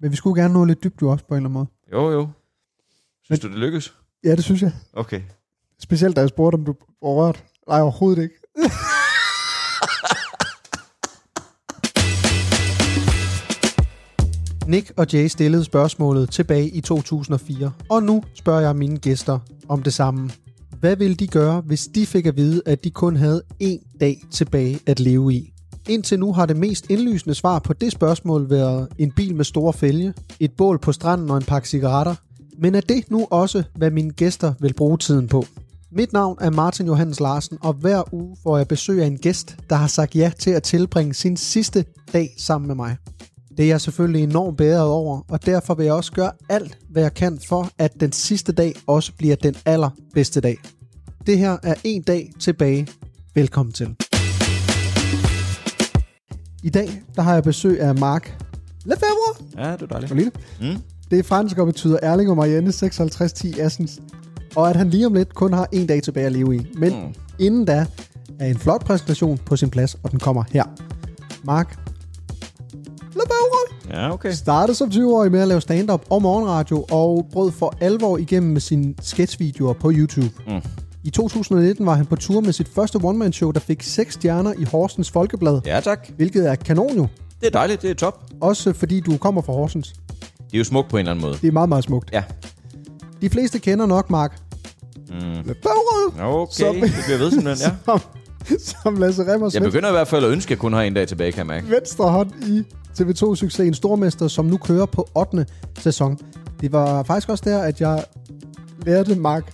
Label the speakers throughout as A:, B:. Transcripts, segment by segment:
A: Men vi skulle gerne nå lidt dybt jo også på en eller anden måde.
B: Jo, jo. Synes
A: Men-
B: du, det lykkes?
A: Ja, det synes jeg.
B: Okay.
A: Specielt da jeg spurgte, om du var rørt. Nej, overhovedet ikke. Nick og Jay stillede spørgsmålet tilbage i 2004, og nu spørger jeg mine gæster om det samme. Hvad ville de gøre, hvis de fik at vide, at de kun havde én dag tilbage at leve i? Indtil nu har det mest indlysende svar på det spørgsmål været en bil med store fælge, et bål på stranden og en pakke cigaretter. Men er det nu også, hvad mine gæster vil bruge tiden på? Mit navn er Martin Johannes Larsen, og hver uge får jeg besøg af en gæst, der har sagt ja til at tilbringe sin sidste dag sammen med mig. Det er jeg selvfølgelig enormt bæret over, og derfor vil jeg også gøre alt, hvad jeg kan for, at den sidste dag også bliver den allerbedste dag. Det her er en dag tilbage. Velkommen til. I dag der har jeg besøg af Mark Lefebvre.
B: Ja, det er dejligt.
A: Lille.
B: Mm.
A: Det er fransk og betyder Erling og Marianne 5610 Assens. Og at han lige om lidt kun har en dag tilbage at leve i. Men mm. inden da er en flot præsentation på sin plads, og den kommer her. Mark Lefebvre
B: Ja, okay.
A: Startede som 20-årig med at lave stand-up og morgenradio, og brød for alvor igennem med sine sketchvideoer på YouTube.
B: Mm.
A: I 2019 var han på tur med sit første one-man-show, der fik 6 stjerner i Horsens Folkeblad,
B: Ja, tak.
A: hvilket er kanon jo,
B: Det er dejligt. Det er top.
A: også fordi du kommer fra Horsens.
B: Det er jo smukt på en eller anden måde.
A: Det er meget, meget smukt.
B: Ja.
A: De fleste kender nok Mark. Mm.
B: Okay,
A: Så-
B: det bliver ved simpelthen, ja.
A: som, som Lasse Remmers
B: Jeg begynder i hvert fald at ønske, at jeg kun har en dag tilbage, kan jeg mærke.
A: venstre hånd i TV2-succesen Stormester, som nu kører på 8. sæson. Det var faktisk også der, at jeg lærte Mark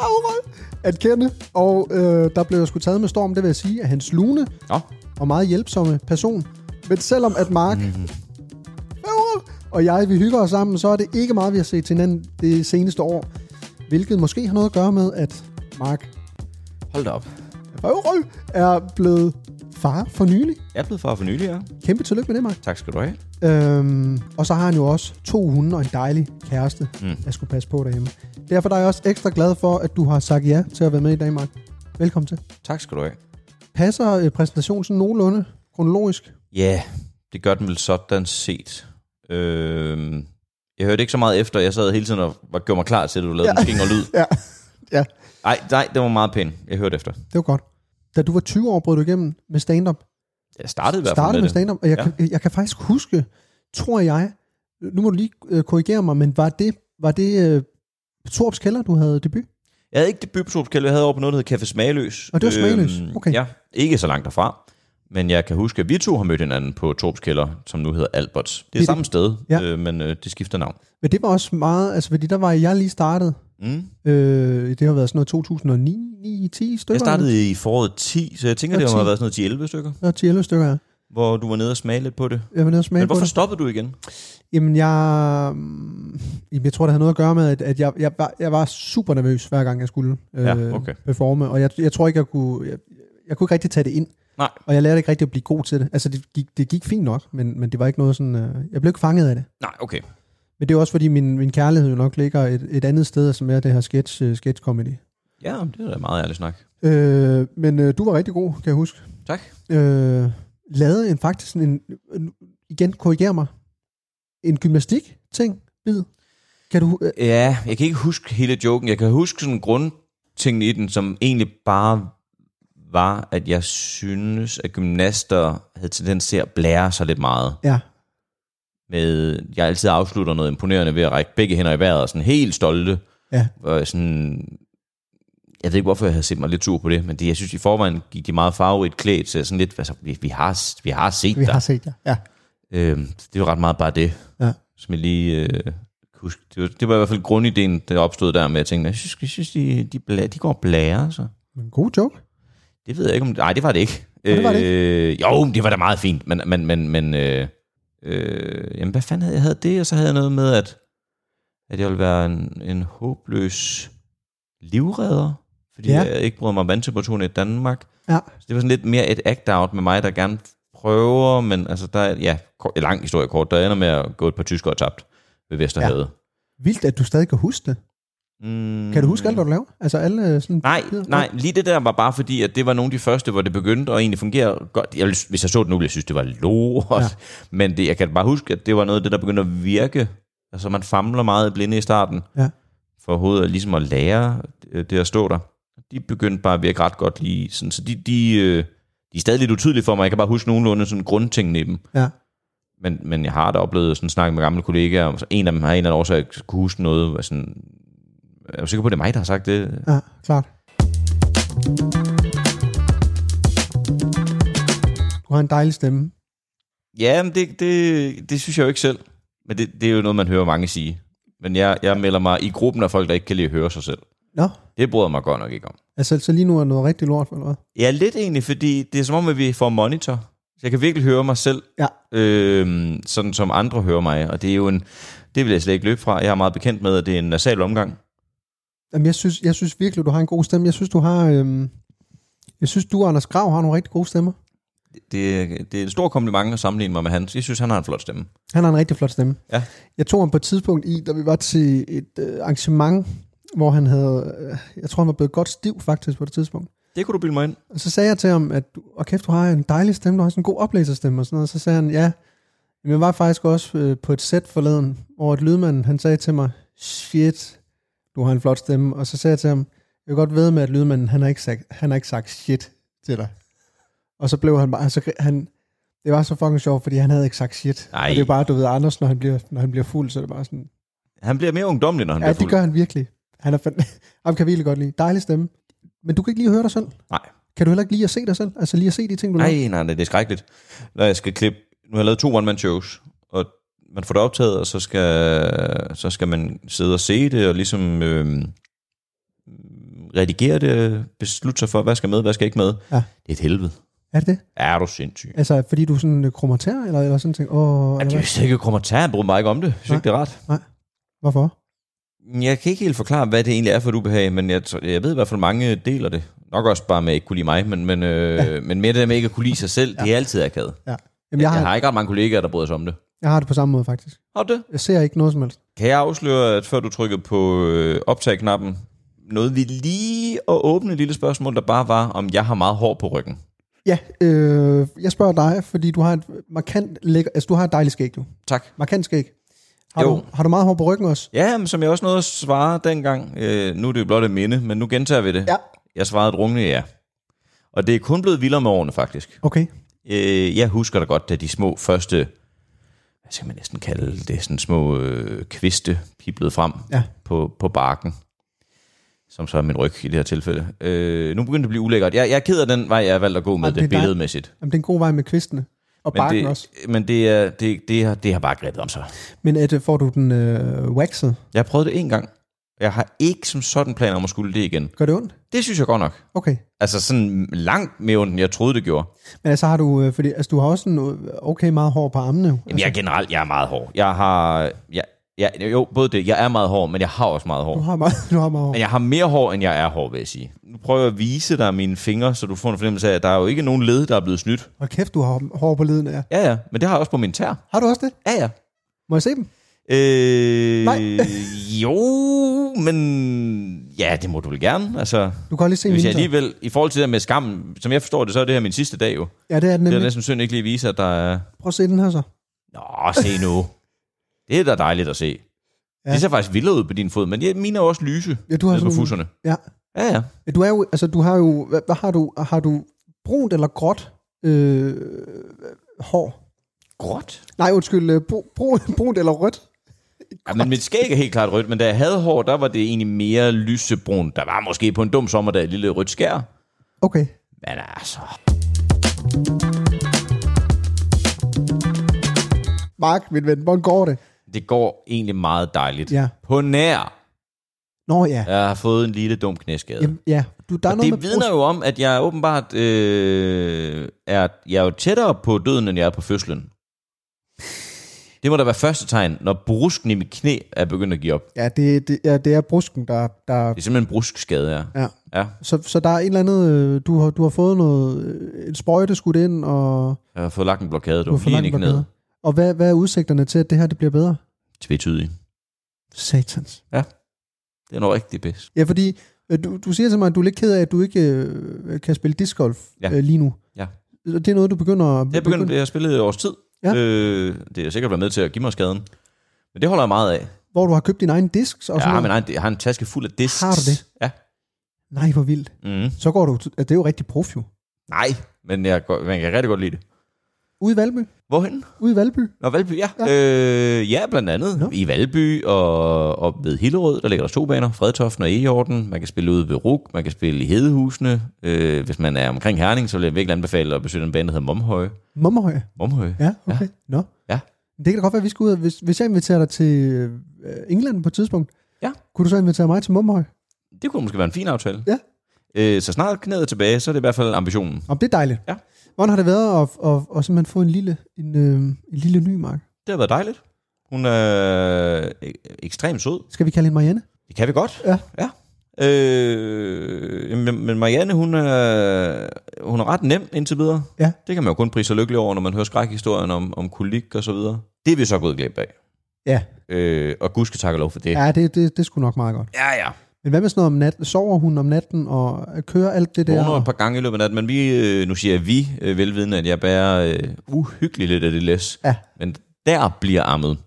A: Aurel at kende, og øh, der blev jeg sgu taget med storm, det vil jeg sige, af hans lune
B: Nå,
A: og meget hjælpsomme person. Men selvom at Mark Aurel og jeg, vi hygger os sammen, så er det ikke meget, vi har set til hinanden det seneste år. Hvilket måske har noget at gøre med, at Mark
B: hold da op.
A: Aurel er blevet far for nylig.
B: Jeg er blevet far for nylig, ja.
A: Kæmpe tillykke med det, Mark.
B: Tak skal du have.
A: Øhm, og så har han jo også to hunde og en dejlig kæreste, mm. jeg skulle passe på derhjemme. Derfor er jeg også ekstra glad for, at du har sagt ja til at være med i dag, Mark. Velkommen til.
B: Tak skal du have.
A: Passer øh, præsentationen sådan nogenlunde kronologisk?
B: Ja, det gør den vel sådan set. Øh, jeg hørte ikke så meget efter. Jeg sad hele tiden og var- gjorde mig klar til, at du lavede ja. måske og lyd.
A: Ja. ja,
B: Nej, nej, det var meget pænt. Jeg hørte efter.
A: det var godt. Da du var 20 år, brød du igennem med stand-up.
B: Jeg startede i hvert fald
A: Startede
B: med,
A: med
B: det.
A: stand-up, og jeg,
B: Ja.
A: ja. kan, jeg kan faktisk huske, tror jeg, nu må du lige øh, korrigere mig, men var det, var det øh, Torps Kælder, du havde debut?
B: Jeg havde ikke det bybetropskælde, jeg havde over på noget, der hed Café Smagløs. Øhm,
A: Og det var Smagløs? Okay.
B: Ja, ikke så langt derfra. Men jeg kan huske, at vi to har mødt hinanden på Torps Kælder, som nu hedder Alberts. Det er
A: Det er
B: samme sted,
A: Ja.
B: øh, men øh, det skifter navn.
A: Men det var også meget, altså fordi der var jeg lige startet.
B: Mm.
A: Øh, det har været sådan noget 2009, 10 stykker.
B: Jeg startede i foråret 10, så jeg tænker,
A: Ja,
B: det har
A: 10.
B: været sådan noget 10-11 stykker,
A: Der er 10-11 stykker her.
B: hvor du var nede og smage lidt på det.
A: Jeg var nede og smage
B: Men
A: på
B: hvorfor
A: det.
B: stoppede du igen?
A: Jamen, jeg, mm, jamen, jeg tror, det havde noget at gøre med, at, at jeg, jeg, var, jeg var super nervøs, hver gang jeg skulle øh,
B: Ja, okay.
A: performe. Og jeg, jeg tror ikke, jeg kunne... Jeg, jeg kunne ikke rigtig tage det ind.
B: Nej.
A: Og jeg lærte ikke rigtig at blive god til det. Altså, det gik, det gik fint nok, men, men det var ikke noget sådan... Øh, jeg blev ikke fanget af det.
B: Nej, okay.
A: Men det er også, fordi min, min kærlighed jo nok ligger et, et andet sted, som er det her sketch, øh, sketch comedy.
B: Ja, det er da meget ærlig snak.
A: Øh, men øh, du var rigtig god, kan jeg huske.
B: Tak.
A: øh, lavede en faktisk sådan en, en igen korriger mig, en gymnastik ting, bid. Kan du, øh,
B: Ja, jeg kan ikke huske hele joken. Jeg kan huske sådan grundtingen i den, som egentlig bare var, at jeg synes, at gymnaster havde tendens til at blære sig lidt meget.
A: ja,
B: Med, jeg altid afslutter noget imponerende ved at række begge hænder i vejret og sådan helt stolte.
A: Ja.
B: Og sådan, jeg ved ikke, hvorfor jeg havde set mig lidt sur på det, men det, jeg synes i forvejen gik de meget farverigt klædt, så jeg sådan lidt, altså, vi, vi, har, vi har set
A: vi
B: dig.
A: har set jer. Ja.
B: Øhm, så det var ret meget bare det,
A: Ja.
B: som jeg lige øh, kunne huske. Det var, det var i hvert fald grundideen, der opstod der med, at jeg tænkte, jeg synes, jeg synes de, de, blæ, de går og blærer sig.
A: Men god joke.
B: Det ved jeg ikke, om... Nej, det var det ikke.
A: det var det
B: Øh, jo, det var da meget fint, men... men, men, men øh, øh, jamen, hvad fanden havde jeg? jeg? havde det, og så havde jeg noget med, at, at jeg ville være en, en håbløs livredder, fordi
A: Ja.
B: ja. jeg ikke brød mig om vandtemperaturen i Danmark.
A: Ja.
B: Så det var sådan lidt mere et act-out med mig, der gerne prøver, men altså, der er... Ja, kort, lang historie kort. Der ender med at gå et par tyskere tabt ved Vesterhavet.
A: Vildt, at du stadig kan huske det.
B: Mm.
A: Kan du huske alt, hvad du laver? Altså alle øh, sådan...
B: Nej,
A: bidder?
B: nej, lige det der var bare fordi, at det var nogle af de første, hvor det begyndte at egentlig fungere godt. Jeg, ville- hvis jeg så det nu, ville jeg synes, det var lort.
A: Ja.
B: Ja. Men det, jeg kan bare huske, at det var noget af det, der begyndte at virke. Altså man famler meget i blinde i starten.
A: Ja.
B: For overhovedet ligesom at lære øh, det at stå der. De begyndte bare at virke ret godt lige sådan. Så de, de, øh, de er stadig lidt utydelige for mig. Jeg kan bare huske nogenlunde sådan grundtingene i dem.
A: Ja.
B: Men, men jeg har da oplevet sådan snakke med gamle kollegaer, og så en af dem har en eller anden årsag ikke kunne huske noget. og Sådan, jeg er sikker på, at det er mig, der har sagt det.
A: Ja, klart. Du har en dejlig stemme.
B: Ja, men det, det, det synes jeg jo ikke selv. Men det, det er jo noget, man hører mange sige. Men jeg, jeg melder mig i gruppen af folk, der ikke kan lide at høre sig selv.
A: Nå,
B: Det bryder jeg mig godt nok ikke om.
A: altså så lige nu er noget rigtig lort, eller hvad?
B: Ja, lidt egentlig, fordi det er som om, at vi får monitor. Så jeg kan virkelig høre mig selv,
A: Ja.
B: øhm, sådan som andre hører mig. Og det er jo en... Det vil jeg slet ikke løbe fra. Jeg er meget bekendt med, at det er en nasal omgang.
A: Jamen, jeg synes, jeg synes virkelig, du har en god stemme. Jeg synes, du har... Øhm, jeg synes, du og Anders Grav har nogle rigtig gode stemmer.
B: Det, det er en stor kompliment at sammenligne mig med hans. Jeg synes, han har en flot stemme.
A: Han har en rigtig flot stemme.
B: Ja.
A: Jeg tog ham på et tidspunkt i, da vi var til et øh, arrangement, hvor han havde... Øh, jeg tror, han var blevet godt stiv faktisk på det tidspunkt.
B: Det kunne du bilde mig ind.
A: Og så sagde jeg til ham, at du- og kæft, du har en dejlig stemme, du har sådan en god oplæserstemme og sådan noget. Og så sagde han, ja, men jeg var faktisk også øh, på et sæt forleden, hvor et lydmand, han sagde til mig, shit, du har en flot stemme. Og så sagde jeg til ham, jeg kan godt ved med, at lydmanden, han har ikke sagt, han har ikke sagt shit til dig. Og så blev han bare, altså, han, det var så fucking sjovt, fordi han havde ikke sagt shit.
B: Ej.
A: Og det er bare, du ved, Anders, når han bliver, når han bliver fuld, så er det bare sådan,
B: Han bliver mere ungdomlig, når han
A: ja,
B: bliver fuld.
A: det gør han virkelig. Han er fandme, ham kan jeg virkelig godt lide. Dejlig stemme. Men du kan ikke lige høre dig selv.
B: Nej.
A: Kan du heller ikke lige at se dig selv? Altså lige at se de ting, du laver?
B: Nej, nej, nej, det er skrækkeligt. Når jeg skal klippe... Nu har jeg lavet to one-man-shows, og man får det optaget, og så skal, så skal man sidde og se det, og ligesom øh, redigere det, beslutte sig for, hvad skal med, hvad skal ikke med.
A: Ja.
B: Det er et helvede.
A: Er det det?
B: Er du sindssyg? Altså, Ja,
A: Altså, fordi du sådan øh, kromaterer, eller, eller sådan ting? Åh,
B: det er
A: eller
B: jo
A: hvad?
B: sikkert kommentar, jeg bryder mig ikke om det. Jeg synes
A: Nej.
B: ikke, det er ret.
A: Hvorfor?
B: Jeg kan ikke helt forklare, hvad det egentlig er for et ubehag, men jeg, tror- jeg ved i hvert fald, mange deler det. Nok også bare med ikke kunne lide mig, men, men, øh, ja. men mere det der med ikke at kunne lide sig selv, ja. det er altid akavet.
A: Jamen, jeg,
B: Jeg
A: har,
B: har ikke ret mange kollegaer, der bryder sig om det.
A: jeg har det på samme måde, faktisk.
B: Har du det?
A: Jeg ser ikke noget som helst.
B: Kan jeg afsløre, at før du trykkede på øh, optag-knappen, nåede vi lige at åbne et lille spørgsmål, der bare var, om jeg har meget hår på ryggen.
A: Ja, øh, jeg spørger dig, fordi du har et markant lækker... Altså, du har et dejligt skæg, du.
B: Tak.
A: Markant skæg. Har,
B: Jo.
A: du, har du meget hår på ryggen også?
B: Ja, men som jeg også nåede at svare dengang, øh, nu er det jo blot et minde, men nu gentager vi det.
A: Ja.
B: Jeg svarede et rungende ja. Og det er kun blevet vildere med årene, faktisk.
A: Okay.
B: Øh, jeg husker da godt, da de små første, hvad skal man næsten kalde det, sådan små øh, kviste piblede frem
A: Ja.
B: på, på barken, som så er min ryg i det her tilfælde. Øh, nu begynder det at blive ulækkert. Jeg, jeg er ked af den vej, jeg har valgt at gå med
A: Ej,
B: Ej,
A: det er
B: det
A: dig.
B: billedmæssigt.
A: Jamen, det er en god vej med kvistene. Og
B: Men
A: barken
B: det,
A: også.
B: men det, er, det, det, har, det har bare grebet om sig.
A: Men at, øh, får du den øh, waxet?
B: Jeg har prøvet det en gang. Jeg har ikke som sådan planer om at skulle det igen.
A: Gør det ondt?
B: Det synes jeg godt nok.
A: Okay.
B: Altså sådan langt mere ondt, end jeg troede, det gjorde.
A: Men altså har du... Øh, fordi, altså, du har også en øh, okay meget hår på armene. jo.
B: Jamen, jeg er generelt, jeg er meget hård. Jeg har... Jeg, jeg, jo, både det. Jeg er meget hård, men jeg har også meget
A: Du
B: hår.
A: har meget, du har meget hår.
B: Men jeg har mere hår, end jeg er hård, vil jeg sige. Nu prøver jeg at vise dig mine fingre, så du får en fornemmelse af, at der er jo ikke nogen led, der er blevet snydt.
A: Og kæft, du har hår på leden af.
B: Ja, ja. Men det har jeg også på min tær.
A: Har du også det?
B: Ja, ja.
A: Må jeg se dem?
B: Øh,
A: Nej.
B: jo, men... Ja, det må du vel gerne. Altså,
A: Du kan godt lige se
B: hvis
A: mine.
B: jeg
A: så.
B: alligevel... I forhold til det der med skam, som jeg forstår det, så er det her min sidste dag jo.
A: Ja, det er den
B: Det er
A: nemlig.
B: næsten synd ikke lige at vise, at der er...
A: Prøv at se den her så.
B: Nå, se nu. det er da dejligt at se.
A: Ja.
B: Ja. Det ser faktisk vildere ud på din fod, men ja, mine er også lyse.
A: Ja, du har
B: Nede på
A: sådan nogle-
B: fusserne.
A: Ja.
B: Ja, ja.
A: Ja, Du er jo, altså du har jo, hvad, hvad har du, har du brunt eller gråt øh, hår?
B: Gråt?
A: Nej, undskyld, øh, bru, bru, brunt eller rødt?
B: Ja, men mit skæg er helt klart rødt, men da jeg havde hår, der var det egentlig mere lysebrun. Der var måske på en dum sommerdag et lille rødt skær.
A: Okay.
B: Men altså...
A: Mark, min ven, hvordan går det?
B: Det går egentlig meget dejligt.
A: Ja.
B: På nær.
A: Nå ja.
B: Jeg har fået en lille dum knæskade.
A: Jamen, ja. Du, der er
B: Og
A: noget
B: det
A: med
B: vidner jo om, at jeg åbenbart øh, er, jeg er jo tættere på døden, end jeg er på fødslen. Det må da være første tegn, når brusken i mit knæ er begyndt at give op.
A: brus- Ja, det, det, ja, det er brusken, der... der
B: Det er simpelthen en bruskskade, ja.
A: ja.
B: ja.
A: Så, så der er et eller andet, øh, du har, du har fået noget, øh, en sprøjte skudt ind, og
B: Jeg har fået lagt en blokade,
A: du
B: du
A: har fået
B: lige
A: langt
B: ikke ned.
A: blokade. Og hvad, hvad er udsigterne til, at det her det bliver bedre?
B: Tvetydig.
A: Satans.
B: Ja. Det er nok rigtig bedst.
A: Ja, fordi øh, du, du siger til mig, at du er lidt ked af, at du ikke øh, kan spille discgolf
B: Ja.
A: øh, lige nu.
B: Ja.
A: Og det er noget, du begynder at...
B: Jeg begyndte, jeg spillede et års tid.
A: Ja.
B: Øh, det har sikkert været med til at give mig skaden. Men det holder jeg meget af.
A: Hvor du har købt din egen disks og
B: Jeg
A: sådan
B: har, min
A: noget.
B: egen, jeg har en taske fuld af disks.
A: Har du det?
B: Ja.
A: Nej, hvor vildt.
B: Mm.
A: Så går du... Til, altså, det er jo rigtig prof, jo.
B: Nej, men jeg, går- man kan rigtig godt lide det.
A: Ude i Valby.
B: Hvorhen?
A: Ude i Valby.
B: Nå, Valby, ja. Ja, øh, ja blandt andet.
A: Nå.
B: Nå. I Valby og, og ved Hillerød, der ligger der to baner. Fredtoften og Ejorden. Man kan spille ude ved Ruk. Man kan spille i Hedehusene. Øh, hvis man er omkring Herning, så vil jeg virkelig anbefale at besøge den bane, der hedder Momhøje.
A: Mommerhøj.
B: Momhøje?
A: Ja, okay. Ja. Nå.
B: Ja.
A: Det kan da godt være, at vi skal ud og... Hvis, hvis jeg inviterer dig til øh, England på et tidspunkt,
B: Ja.
A: kunne du så invitere mig til Mommerhøj?
B: Det kunne måske være en fin aftale.
A: Ja.
B: Øh, så snart knæet er tilbage, så er det i hvert fald ambitionen.
A: Om det er dejligt.
B: Ja.
A: Hvordan har det været at, at, at, at simpelthen få en lille, en, øh, en lille ny mark?
B: Det har været dejligt. Hun er øh, ekstremt sød.
A: Skal vi kalde hende Marianne?
B: Det kan vi godt.
A: Ja.
B: ja. Øh, men men Marianne, hun er, hun er ret nem indtil videre.
A: Ja.
B: Det kan man jo kun prise sig lykkelig over, når man hører skrækhistorien om, om kolik og så videre. Det er vi så gået glip af.
A: Ja.
B: Øh, og gud skal takke og lov for det.
A: Ja, det, det, det skulle nok meget godt.
B: ja. ja.
A: Men hvad med sådan noget om natten? Sover hun om natten og kører alt det der?
B: Vågner et par gange i løbet af natten, men vi, øh, nu siger jeg vi, øh, velvidende, at jeg bærer øh, uhyggeligt lidt af det læs.
A: Ja.
B: Men der bliver ammet.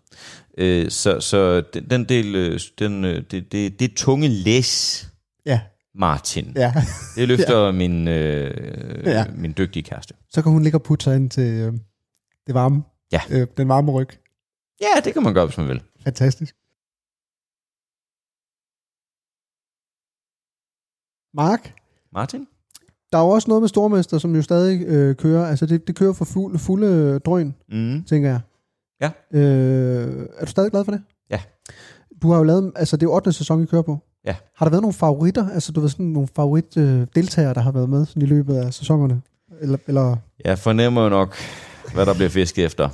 B: Øh, så, så den, den del, øh, den, øh, det, det, det tunge læs,
A: Ja,
B: Martin,
A: ja.
B: det løfter ja. min, øh,
A: Ja.
B: ja. min dygtige kæreste.
A: Så kan hun ligge og putte sig ind til øh, det varme.
B: Ja.
A: Øh, den varme ryg.
B: Ja, det kan man gøre, hvis man vil.
A: Fantastisk. Mark,
B: Martin?
A: der er jo også noget med Stormester, som jo stadig øh, kører. Altså, det, det kører for fuld, fulde øh, drøn,
B: Mm.
A: tænker jeg.
B: Ja.
A: Øh, er du stadig glad for det?
B: Ja.
A: Du har jo lavet, altså det er jo 8. sæson, I kører på.
B: Ja.
A: Har der været nogle favoritter, altså du ved sådan nogle favoritdeltagere, øh, deltagere, der har været med sådan i løbet af sæsonerne? Eller, eller
B: Jeg fornemmer jo nok, hvad der bliver fisket efter.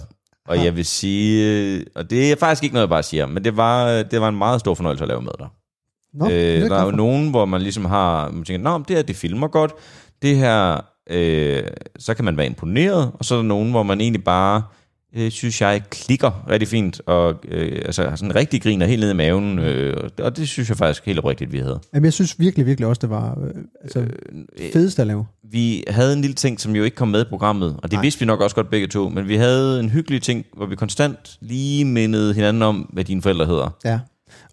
B: Og jeg vil sige, øh, og det er faktisk ikke noget, jeg bare siger, men det var, øh, det var en meget stor fornøjelse at lave med dig.
A: Nå, det jeg
B: Øh, der
A: glad
B: er jo
A: for.
B: nogen, hvor man ligesom har, man tænker, Nå, men det her, det filmer godt, det her, øh, så kan man være imponeret, og så er der nogen, hvor man egentlig bare, øh, synes jeg, klikker rigtig fint, og øh, altså har sådan rigtig griner helt ned i maven, øh, og- og det synes jeg faktisk helt oprigtigt, vi havde.
A: Jamen, jeg synes virkelig, virkelig også, det var øh, altså, øh, fedest at lave.
B: Vi havde en lille ting, som jo ikke kom med i programmet, og det
A: Nej.
B: Nej. vidste vi nok også godt begge to, men vi havde en hyggelig ting, hvor vi konstant lige mindede hinanden om, hvad dine forældre hedder.
A: Ja.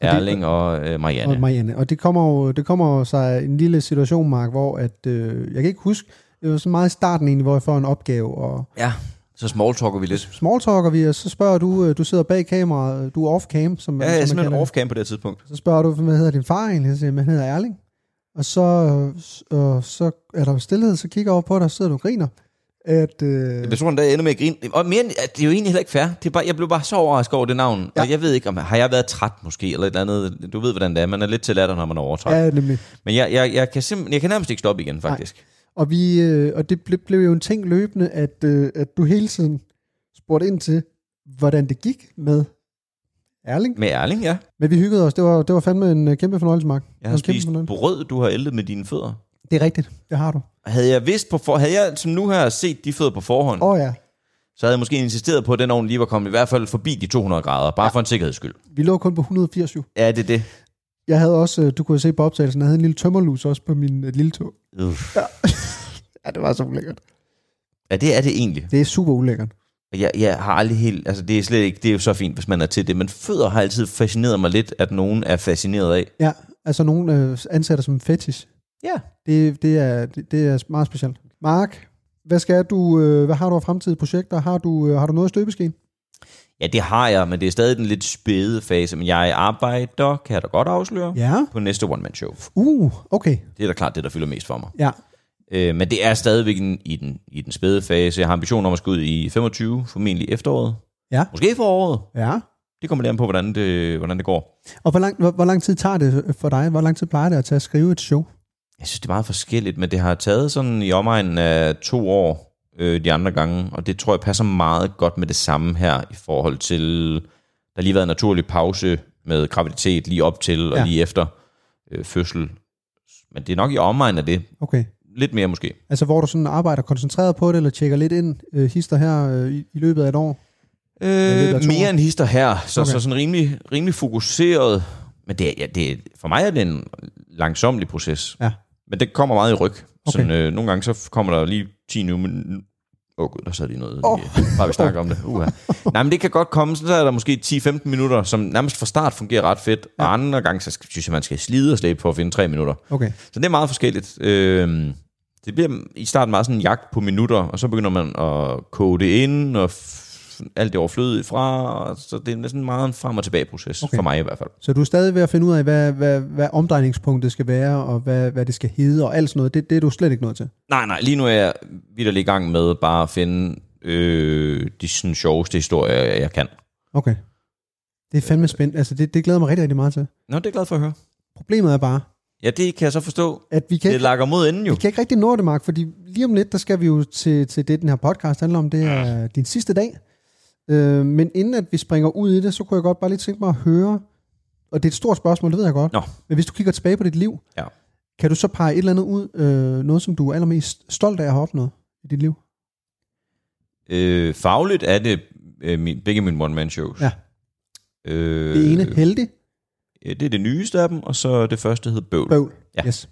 A: Og det-
B: Erling og øh, Marianne.
A: Og Marianne. Og det kommer jo, det kommer jo sig en lille situation, Mark, hvor at, øh, jeg kan ikke huske, det var så meget i starten egentlig, hvor jeg får en opgave, og
B: ja, så smalltalker vi lidt.
A: smalltalker vi, og så spørger du, øh, du sidder bag kameraet, øh, du er off-cam, som,
B: Ja, jeg er
A: som man
B: simpelthen
A: kalder det.
B: off-cam på det her tidspunkt.
A: Så spørger du, hvad hedder din far egentlig? Jeg siger, jeg, "Men han hedder Erling. Og så, og så er der stillhed, så kigger jeg over på dig, og så sidder du og griner. At, øh,
B: Jeg tror endda, jeg ender med at grine. Og mere, end- at det er jo egentlig heller ikke fair. Det er bare, jeg blev bare så overrasket over det navn. Ja. Og jeg ved ikke, om har jeg været træt måske, eller et eller andet. Du ved, hvordan det er. Man er lidt til latter, når man er overtræt. Ja.
A: ja, nemlig.
B: Men jeg, jeg, jeg, kan simpelthen, jeg kan nærmest ikke stoppe igen, faktisk. Nej.
A: Og, vi, øh, og det ble, blev jo en ting løbende, at, øh, at du hele tiden spurgte ind til, hvordan det gik med Erling.
B: Med Erling, ja.
A: Men vi hyggede os. Det var, det var fandme en øh, kæmpe fornøjelse, Mark. Det var
B: Jeg har
A: en kæmpe
B: spist
A: fornøjelse.
B: brød, du har ældet med dine fødder.
A: Det er rigtigt. Det har du.
B: Havde jeg vidst på for, havde jeg som nu her set de fødder på forhånd,
A: Åh oh, ja.
B: så havde jeg måske insisteret på, at den ovn lige var kommet i hvert fald forbi de 200 grader, bare ja. for en sikkerheds skyld.
A: Vi lå kun på 180 jo.
B: Ja, det er det.
A: Jeg havde også, øh, du kunne jo se på optagelsen, jeg havde en lille tømmerlus også på min øh, lille tog.
B: Uff.
A: Ja, det var så ulækkert.
B: Ja, det er det egentlig.
A: Det er super ulækkert.
B: Jeg, jeg har aldrig helt, altså det er slet ikke, det er jo så fint, hvis man er til det, men fødder har altid fascineret mig lidt, at nogen er fascineret af.
A: Ja, altså nogen øh, ansætter som fetish.
B: Ja.
A: Det, det, er, det, det er meget specielt. Mark, hvad skal du, øh, hvad har du af fremtidige projekter? Har du, øh, har du noget i støbeskeen?
B: Ja, det har jeg, men det er stadig den lidt spæde fase, men jeg arbejder, kan jeg da godt afsløre,
A: Ja.
B: på næste one-man-show.
A: Uh, okay.
B: Det er da klart det, der fylder mest for mig.
A: Ja.
B: Øh, men det er stadigvæk en, i, den, i den spæde fase. Jeg har ambitioner om at skulle ud i 25, formentlig efteråret.
A: Ja.
B: Måske foråret.
A: Ja.
B: Det kommer lidt an på, hvordan det, hvordan det går.
A: Og hvor lang, hvor, hvor lang tid tager det øh, for dig? Hvor lang tid plejer det at tage at skrive et show?
B: Jeg synes, det er meget forskelligt, men det har taget sådan i omegnen af to år øh, de andre gange, og det tror jeg passer meget godt med det samme her i forhold til, der har lige været en naturlig pause med graviditet lige op til og
A: Ja.
B: ja. lige efter øh, fødsel. Men det er nok i omegnen af det.
A: Okay.
B: Lidt mere måske.
A: Altså, hvor du sådan arbejder koncentreret på det, eller tjekker lidt ind, øh, hister her øh, i, i løbet af et år?
B: Øh,
A: af to år.
B: mere end hister her, så,
A: Okay.
B: okay. så sådan rimelig, rimelig fokuseret Men det, er- ja, det, er- for mig er det en langsomlig proces.
A: Ja.
B: Men det kommer meget i ryg.
A: Okay.
B: Sådan, øh, nogle gange så kommer der lige 10 nu, men Åh oh, gud, der sad lige noget,
A: Åh.
B: oh. bare vi snakker om det. Uha. Nej, men det kan godt komme, sådan så er der måske 10-15 minutter, som nærmest fra start fungerer ret fedt, ja. og andre gange, så skal- synes jeg, man skal slide og slæbe for at finde 3 minutter.
A: Okay.
B: Så det er meget forskelligt. Øhm, det bliver i starten meget sådan en jagt på minutter, og så begynder man at koge det ind, og f- alt det overflødige fra, og så det er næsten meget en frem- og tilbage-proces,
A: Okay.
B: okay. for mig i hvert fald.
A: Så du er stadig ved at finde ud af, hvad, hvad, hvad omdrejningspunktet skal være, og hvad, hvad det skal hedde, og alt sådan noget. Det, det er du slet ikke nået til.
B: Nej, nej, lige nu er jeg vidderlig i gang med bare at finde øh, de sådan, sjoveste historier, jeg kan.
A: Okay. Det er fandme spændt. Altså, det, det glæder mig rigtig, rigtig meget til.
B: Nå, det er jeg glad for at høre.
A: Problemet er bare,
B: Ja, det kan jeg så forstå.
A: at vi kan,
B: Det lakker mod enden jo.
A: vi kan ikke rigtig nå det, Mark, fordi lige om lidt, der skal vi jo til, til det, den her podcast handler om. Det er din sidste dag. Øh, men inden at vi springer ud i det, så kunne jeg godt bare lige tænke mig at høre, og det er et stort spørgsmål, det ved jeg godt,
B: Nå.
A: men hvis du kigger tilbage på dit liv,
B: Ja.
A: kan du så pege et eller andet ud, øh, noget som du er allermest stolt af at have opnået i dit liv?
B: Øh, fagligt er det øh, min, begge mine one-man-shows.
A: Ja.
B: Øh,
A: Det ene, heldig,
B: Ja, Det er det nyeste af dem, og så det første hed Bøvl. Bøvl.
A: bøvl.
B: Ja.
A: Yes.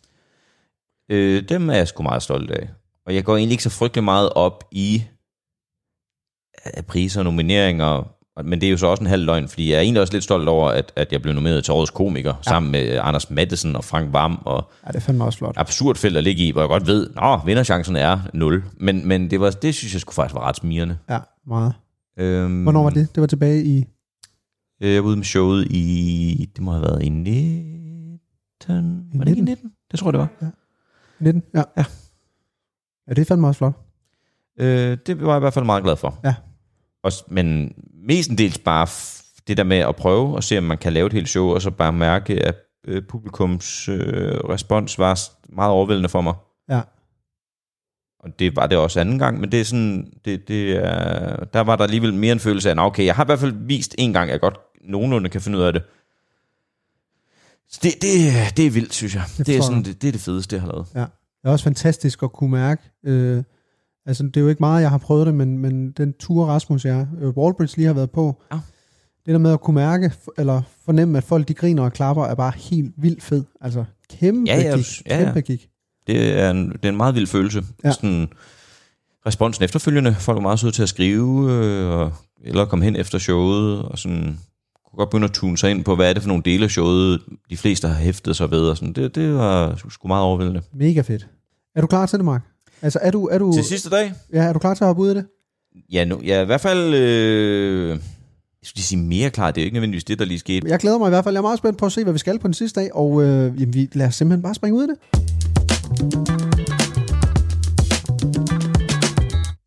B: Øh, dem er jeg sgu meget stolt af. Og jeg går egentlig ikke så frygtelig meget op i øh, priser og nomineringer, og- men det er jo så også en halv løgn, fordi jeg er egentlig også lidt stolt over, at, at jeg blev nomineret til Årets Komiker, ja. sammen med øh, Anders Mattesen og Frank Vam, og
A: Ja, det fandme også flot.
B: absurd felt at ligge i, hvor jeg godt ved, at vinderchancen er 0. Men, men det, var, det synes jeg skulle faktisk var ret smirende.
A: Ja, meget.
B: Øhm,
A: Hvornår var det? Det var tilbage i...
B: Øh, Jeg var ude med showet i, det må have været i 19, var det ikke
A: 19?
B: i 19? Det tror jeg, det var.
A: 19? Ja.
B: Ja.
A: Ja, det er fandme også flot.
B: Øh, det var jeg i hvert fald meget glad for.
A: Ja.
B: Og, s- men mestendels bare f- det der med at prøve og se, om man kan lave et helt show, og så bare mærke, at øh, publikums øh, respons var s- meget overvældende for mig.
A: Ja.
B: Og det var det også anden gang, men det er sådan, det, det er, der var der alligevel mere en følelse af, "Nå, okay, jeg har i hvert fald vist en gang, at jeg godt nogenlunde kan finde ud af det. Så det, det, det er vildt, synes jeg. Det, det, er,
A: forstår
B: sådan,
A: jeg.
B: det, det er det fedeste, jeg har lavet.
A: Det er også fantastisk at kunne mærke. Øh, altså, det er jo ikke meget, jeg har prøvet det, men, men den tur Rasmus, jeg øh, Wallbridge lige har været på,
B: Ja.
A: det der med at kunne mærke, f- eller fornemme, at folk de griner og klapper, er bare helt vildt fed. Altså, kæmpe
B: Ja, ja,
A: gik.
B: ja, ja.
A: Kæmpe gik.
B: Det er en, det er en meget vild følelse.
A: Ja.
B: Ja. Sådan, responsen efterfølgende. Folk var meget søde til at skrive, øh, og, eller komme hen efter showet, og sådan, kunne godt begynde at tune sig ind på, hvad er det for nogle dele af showet, de fleste har hæftet sig ved. Og sådan. Det, det var sgu- sgu meget overvældende.
A: Mega fedt. Er du klar til det, Mark? Altså, er du, er du,
B: Til sidste dag?
A: ja, er du klar til at hoppe ud af det?
B: Ja, nu, ja i hvert fald... Øh, jeg skulle lige sige mere klart, det er jo ikke nødvendigvis det, der lige skete.
A: Jeg glæder mig i hvert fald. Jeg er meget spændt på at se, hvad vi skal på den sidste dag, og øh, jamen, vi lader simpelthen bare springe ud af det.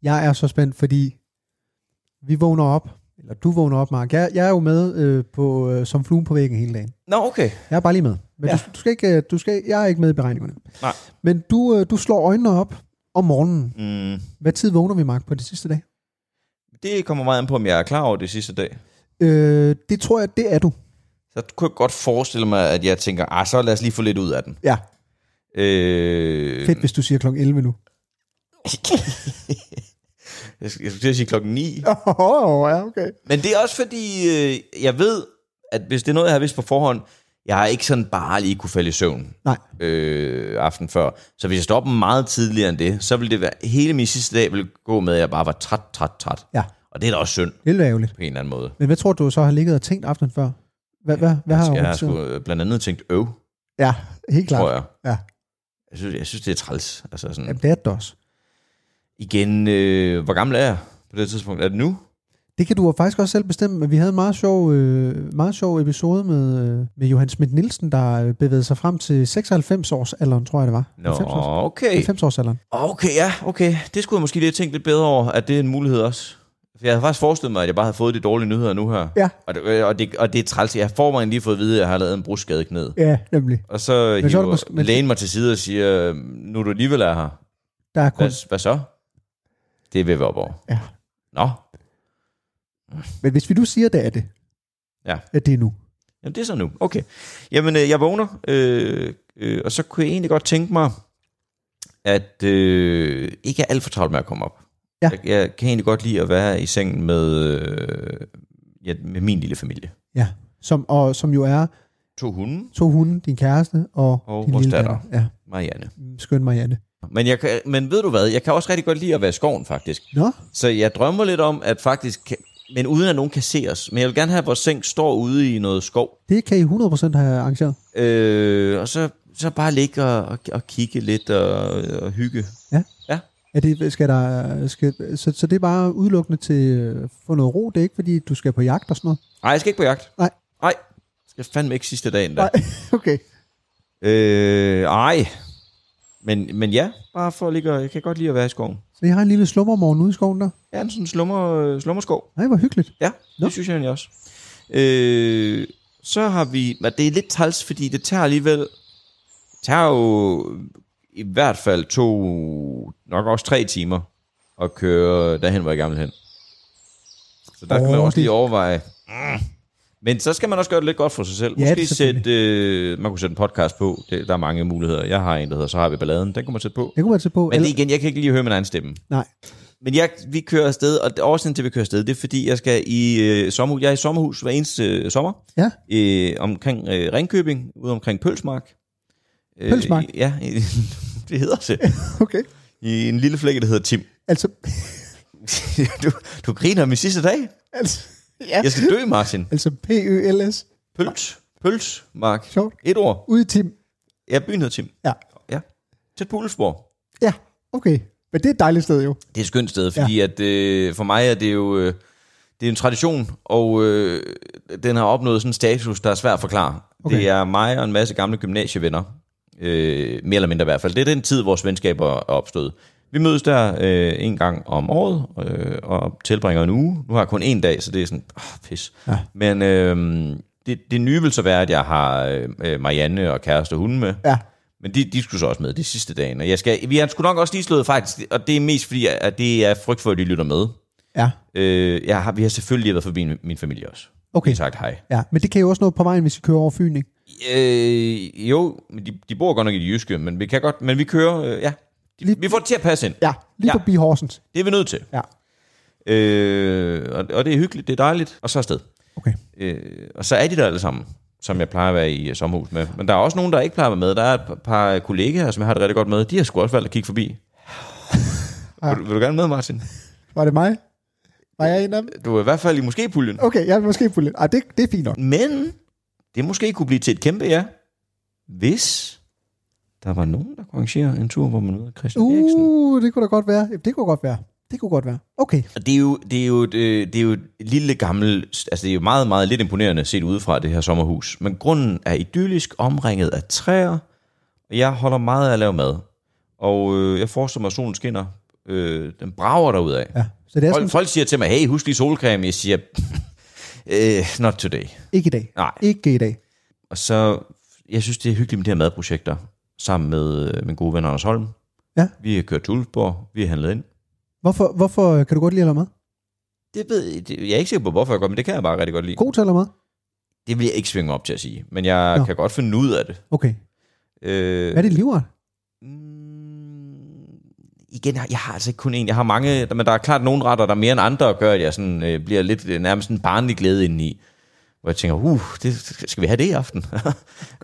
A: Jeg er så spændt, fordi vi vågner op, eller du vågner op, Mark. Jeg, jeg er jo med øh, på, øh, som fluen på væggen hele dagen.
B: Nå, okay.
A: Jeg er bare lige med. Men ja.
B: Ja.
A: du, du skal ikke, øh, du skal, jeg er ikke med i beregningerne.
B: Nej.
A: Men du, øh, du slår øjnene op om morgenen.
B: Mm,
A: Hvad tid vågner vi, Mark, på det sidste dag?
B: det kommer meget an på, om jeg er klar over det sidste dag.
A: Øh, det tror jeg, det er du.
B: Så kunne jeg godt forestille mig, at jeg tænker, ah, så lad os lige få lidt ud af den.
A: Ja,
B: Øh,
A: fedt, hvis du siger klokken 11 nu.
B: Jeg skulle jeg skulle til at sige klokken 9.
A: Åh, oh, ja, okay.
B: Men det er også fordi, øh, jeg ved, at hvis det er noget, jeg har vidst på forhånd, jeg har ikke sådan bare lige kunne falde i søvn
A: Nej.
B: øh, aften før. Så hvis jeg står op meget tidligere end det, så vil det være, hele min sidste dag vil gå med, at jeg bare var træt, træt, træt.
A: Ja.
B: Og det er da også synd
A: Det er lidt ærgerligt.
B: på en eller anden måde.
A: Men hvad tror du så har ligget og tænkt aftenen før? Hvad, hvad, hvad har
B: jeg
A: du
B: har
A: tænkt?
B: sgu øh, blandt andet tænkt øv,
A: Ja, helt klart.
B: tror jeg.
A: Ja.
B: Jeg synes, jeg synes, det er træls. Altså sådan.
A: Jamen, det er det også.
B: Igen, øh, hvor gammel er jeg på det tidspunkt? Er det nu?
A: Det kan du jo faktisk også selv bestemme, men vi havde en meget sjov, øh, meget sjov episode med, øh, med Johan Schmidt Nielsen, der øh, bevægede sig frem til 96 års alderen, tror jeg det var.
B: Nå,
A: 90 års,
B: okay.
A: 90 års alderen.
B: Okay, ja, okay. Det skulle jeg måske lige have tænkt lidt bedre over, at det er en mulighed også. For jeg havde faktisk forestillet mig, at jeg bare havde fået de dårlige nyheder nu her.
A: Ja.
B: Og det, og det, og det er træls. Jeg har forvejen lige fået at vide, at jeg har lavet en brugskade knæ.
A: Ja, nemlig. Men
B: Og så
A: så er det
B: hiver
A: måske- men-
B: lægen mig til side og siger, "Øhm, nu er du alligevel er her.
A: Der er kun,
B: Hvad, hvad så? Det vil vi op over.
A: ja.
B: Nå,
A: Men hvis vi nu siger, det er det,
B: Ja.
A: at det er nu.
B: Jamen, det er så nu. Okay. Jamen, øh, jeg vågner, øh, øh, og så kunne jeg egentlig godt tænke mig, at øh, ikke er alt for travlt med at komme op.
A: Ja.
B: Jeg, jeg kan egentlig godt lide at være i sengen med, øh, ja, med min lille familie.
A: Ja, som, og, som jo er
B: to hunde,
A: To hunde, din kæreste og,
B: Og
A: din
B: vores
A: lille
B: datter.
A: datter. Ja,
B: Marianne.
A: Mm, skøn Marianne.
B: Men, jeg kan, men ved du hvad, jeg kan også rigtig godt lide at være i skoven, faktisk.
A: Nå,
B: Så jeg drømmer lidt om, at faktisk, kan, men uden at nogen kan se os. Men jeg vil gerne have, at vores seng står ude i noget skov.
A: det kan I 100% have arrangeret.
B: Øh, og så, så bare ligge og, og, og kigge lidt og, og hygge.
A: Er det, skal der, skal, så, så det er bare udelukkende til øh, få noget ro. Det er ikke, fordi du skal på jagt og sådan noget.
B: Nej, jeg skal ikke på jagt.
A: Nej.
B: Nej, jeg skal fandme ikke sidste dagen der.
A: Nej. Okay.
B: Øh, ej. Men, men ja, bare for at ligge, og- jeg kan godt lide at være i skoven.
A: Så I har en lille slummermorgen ude i skoven der.
B: Jeg er en sådan slummer, øh, slummerskov.
A: Nej, hvor hyggeligt.
B: Ja,
A: Nå.
B: det synes jeg egentlig også. Øh, så har vi... men Det er lidt træls, fordi det tager alligevel... Det tager jo i hvert fald to, nok også tre timer at køre derhen, hvor jeg gerne vil hen. Så der oh, kan man
A: Åh,
B: også
A: det-
B: lige overveje. Mm. Men så skal man også gøre det lidt godt for sig selv.
A: Ja,
B: Måske
A: det er selvfølgelig.
B: sætte, øh, man kunne sætte en podcast på. Det, der er mange muligheder. Jeg har en, der hedder Så har vi balladen. Den kunne man sætte på.
A: Det kunne man tage på.
B: Men det igen, jeg kan ikke lige høre min egen stemme.
A: Nej.
B: Men jeg, vi kører afsted, og årsagen til, at vi kører afsted, det er, fordi jeg skal i øh, sommerhus. Jeg er i sommerhus hver eneste øh, sommer,
A: Ja,
B: øh, omkring øh, Ringkøbing, ude omkring Pølsmark. Øh,
A: Pølsmark?
B: i- Ja, i- det hedder det.
A: okay.
B: I en lille flække, der hedder Tim.
A: Altså,
B: du, du griner af min sidste dag.
A: altså, ja.
B: Jeg skal dø, Martin.
A: altså P-Ø-L-S.
B: Pøls. Pølsmark.
A: Sjovt.
B: Et ord.
A: Ude i Tim.
B: Ja, byen hedder Tim.
A: Ja.
B: Ja. Tæt på Ulfborg.
A: Ja, okay. Men det er et dejligt sted jo.
B: Det er et skønt sted, fordi ja. at, øh, for mig er det jo øh, det er en tradition, og øh, den har opnået sådan en status, der er svær at forklare.
A: Okay.
B: Okay. Det er mig og en masse gamle gymnasievenner, øh, mere eller mindre i hvert fald. Det er den tid, vores venskaber er opstået. Vi mødes der øh, en gang om året øh, og tilbringer en uge. Nu har jeg kun en dag, så det er sådan, åh, pis.
A: Ja.
B: Men øh, det, det nye vil så være, at jeg har øh, øh, Marianne og kæreste og hunden med.
A: Ja,
B: Men de, de skulle så også med de sidste dagen. Og jeg skal, vi har sgu nok også lige slået faktisk, og det er mest fordi, at det er frygt for, at de lytter med.
A: ja.
B: Øh, jeg har, vi har selvfølgelig været forbi min, min familie også. Vi
A: Okay,
B: har sagt hej.
A: ja. Men det kan jo også nå på vejen, hvis I kører over Fyn, ikke?
B: Øh, jo, men de, de bor godt nok i det jyske, men vi kan godt, men vi kører, øh, ja. De,
A: Lige-
B: vi får det til at passe ind.
A: Ja, lige ja.
B: Ja.
A: forbi Horsens.
B: Det er vi nødt til.
A: Ja,
B: Øh, og, og det er hyggeligt, det er dejligt, og så afsted.
A: okay.
B: Øh, og så er de der alle sammen, som jeg plejer at være i øh, sommerhus med. Men der er også nogen, der ikke plejer at være med. Der er et par- par kollegaer, som jeg har det rigtig godt med. De har sgu også valgt at kigge forbi. Ja. Vil, du, vil du gerne med, Martin?
A: Var det mig? Var jeg en af dem?
B: Du er i hvert fald i måske-puljen.
A: Okay, jeg er måske på lidt. Ej, det, det er fint nok.
B: Men det måske kunne blive til et kæmpe ja, hvis der var nogen, der kunne arrangere en tur, hvor man møder Christian uh. Eriksen.
A: Uh, det kunne da godt være. Jamen, Det kunne godt være. Det kunne godt være. Okay.
B: Og det er jo, det er jo, et, øh, det er jo et lille gammelt, altså det er jo meget, meget lidt imponerende set udefra det her sommerhus. Men grunden er idyllisk, omringet af træer, og jeg holder meget af at lave mad. Og øh, jeg forestiller mig, at solen skinner. Øh, den brager derudad.
A: Ja. Så det er
B: Folk,
A: sådan,
B: folk siger til mig, hey, husk lige solcreme. Jeg siger, øh, not today.
A: ikke i dag.
B: Nej.
A: Ikke i dag.
B: Og så, jeg synes, det er hyggeligt med de her madprojekter, sammen med øh, min gode ven Anders Holm.
A: Ja.
B: Vi har kørt til Ulfborg, vi har handlet ind.
A: Hvorfor, hvorfor øh, kan du godt lide at lave mad?
B: Det ved jeg, det, jeg er ikke sikker på, hvorfor jeg gør, men det kan jeg bare rigtig godt lide.
A: God til at lave mad?
B: Det vil jeg ikke svinge mig op til at sige, men jeg
A: Nå.
B: Nå. kan godt finde ud af det.
A: Okay.
B: Øh,
A: Hvad er det livret?
B: mm, igen, jeg har altså ikke kun en. Jeg har mange, men der er klart nogle retter, der er mere end andre, og gør, at jeg sådan, øh, bliver lidt øh, nærmest en barnlig glæde indeni. Hvor jeg tænker, uh, det, skal vi have det i aften?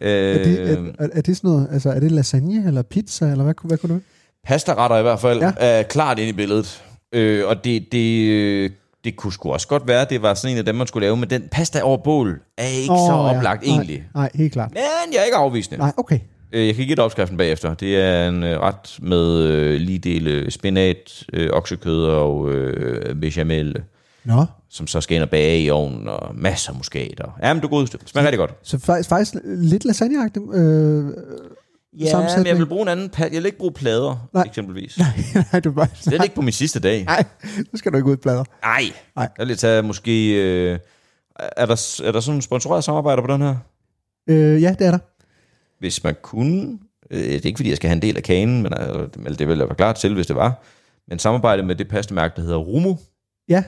B: øh,
A: Er det, er, er- er det sådan noget, altså er det lasagne eller pizza, eller hvad, kunne- hvad kunne du?
B: pastaretter i hvert fald
A: Ja.
B: ja. er klart ind i billedet. Øh, og det, det, øh, det kunne sgu også godt være, det var sådan en af dem, man skulle lave, men den pasta over bål er ikke oh, så oplagt
A: ja.
B: ja. egentlig.
A: Nej, nej, helt klart.
B: Men jeg er ikke afvisende.
A: Nej, okay.
B: Øh, jeg kan give dig opskriften bagefter. Det er en øh, ret med øh, lige dele spinat, øh, oksekød og øh, bechamel,
A: Nå,
B: som så skal ind og bage i ovnen, og masser af muskat. Og... Ja, men du er god. Det smager rigtig godt.
A: så faktisk, faktisk lidt lasagneagtigt øh,
B: Ja, men
A: sammensætning.
B: jeg vil bruge en anden pa- Jeg vil ikke bruge plader,
A: Nej.
B: Nej. eksempelvis.
A: Nej, nej, du er bare...
B: Det er ikke på min sidste dag.
A: Nej, nu skal du ikke ud plader.
B: Nej.
A: Nej.
B: Nej. Jeg vil tage måske... Øh, er, der, er der sådan sponsoreret samarbejder på den her?
A: Øh, ja, det er der.
B: Hvis man kunne... Øh, det er ikke, fordi jeg skal have en del af kagen, men øh, eller det ville jeg være klart selv, hvis det var. Men samarbejde med det pastemærke, der hedder Rumo,
A: Ja,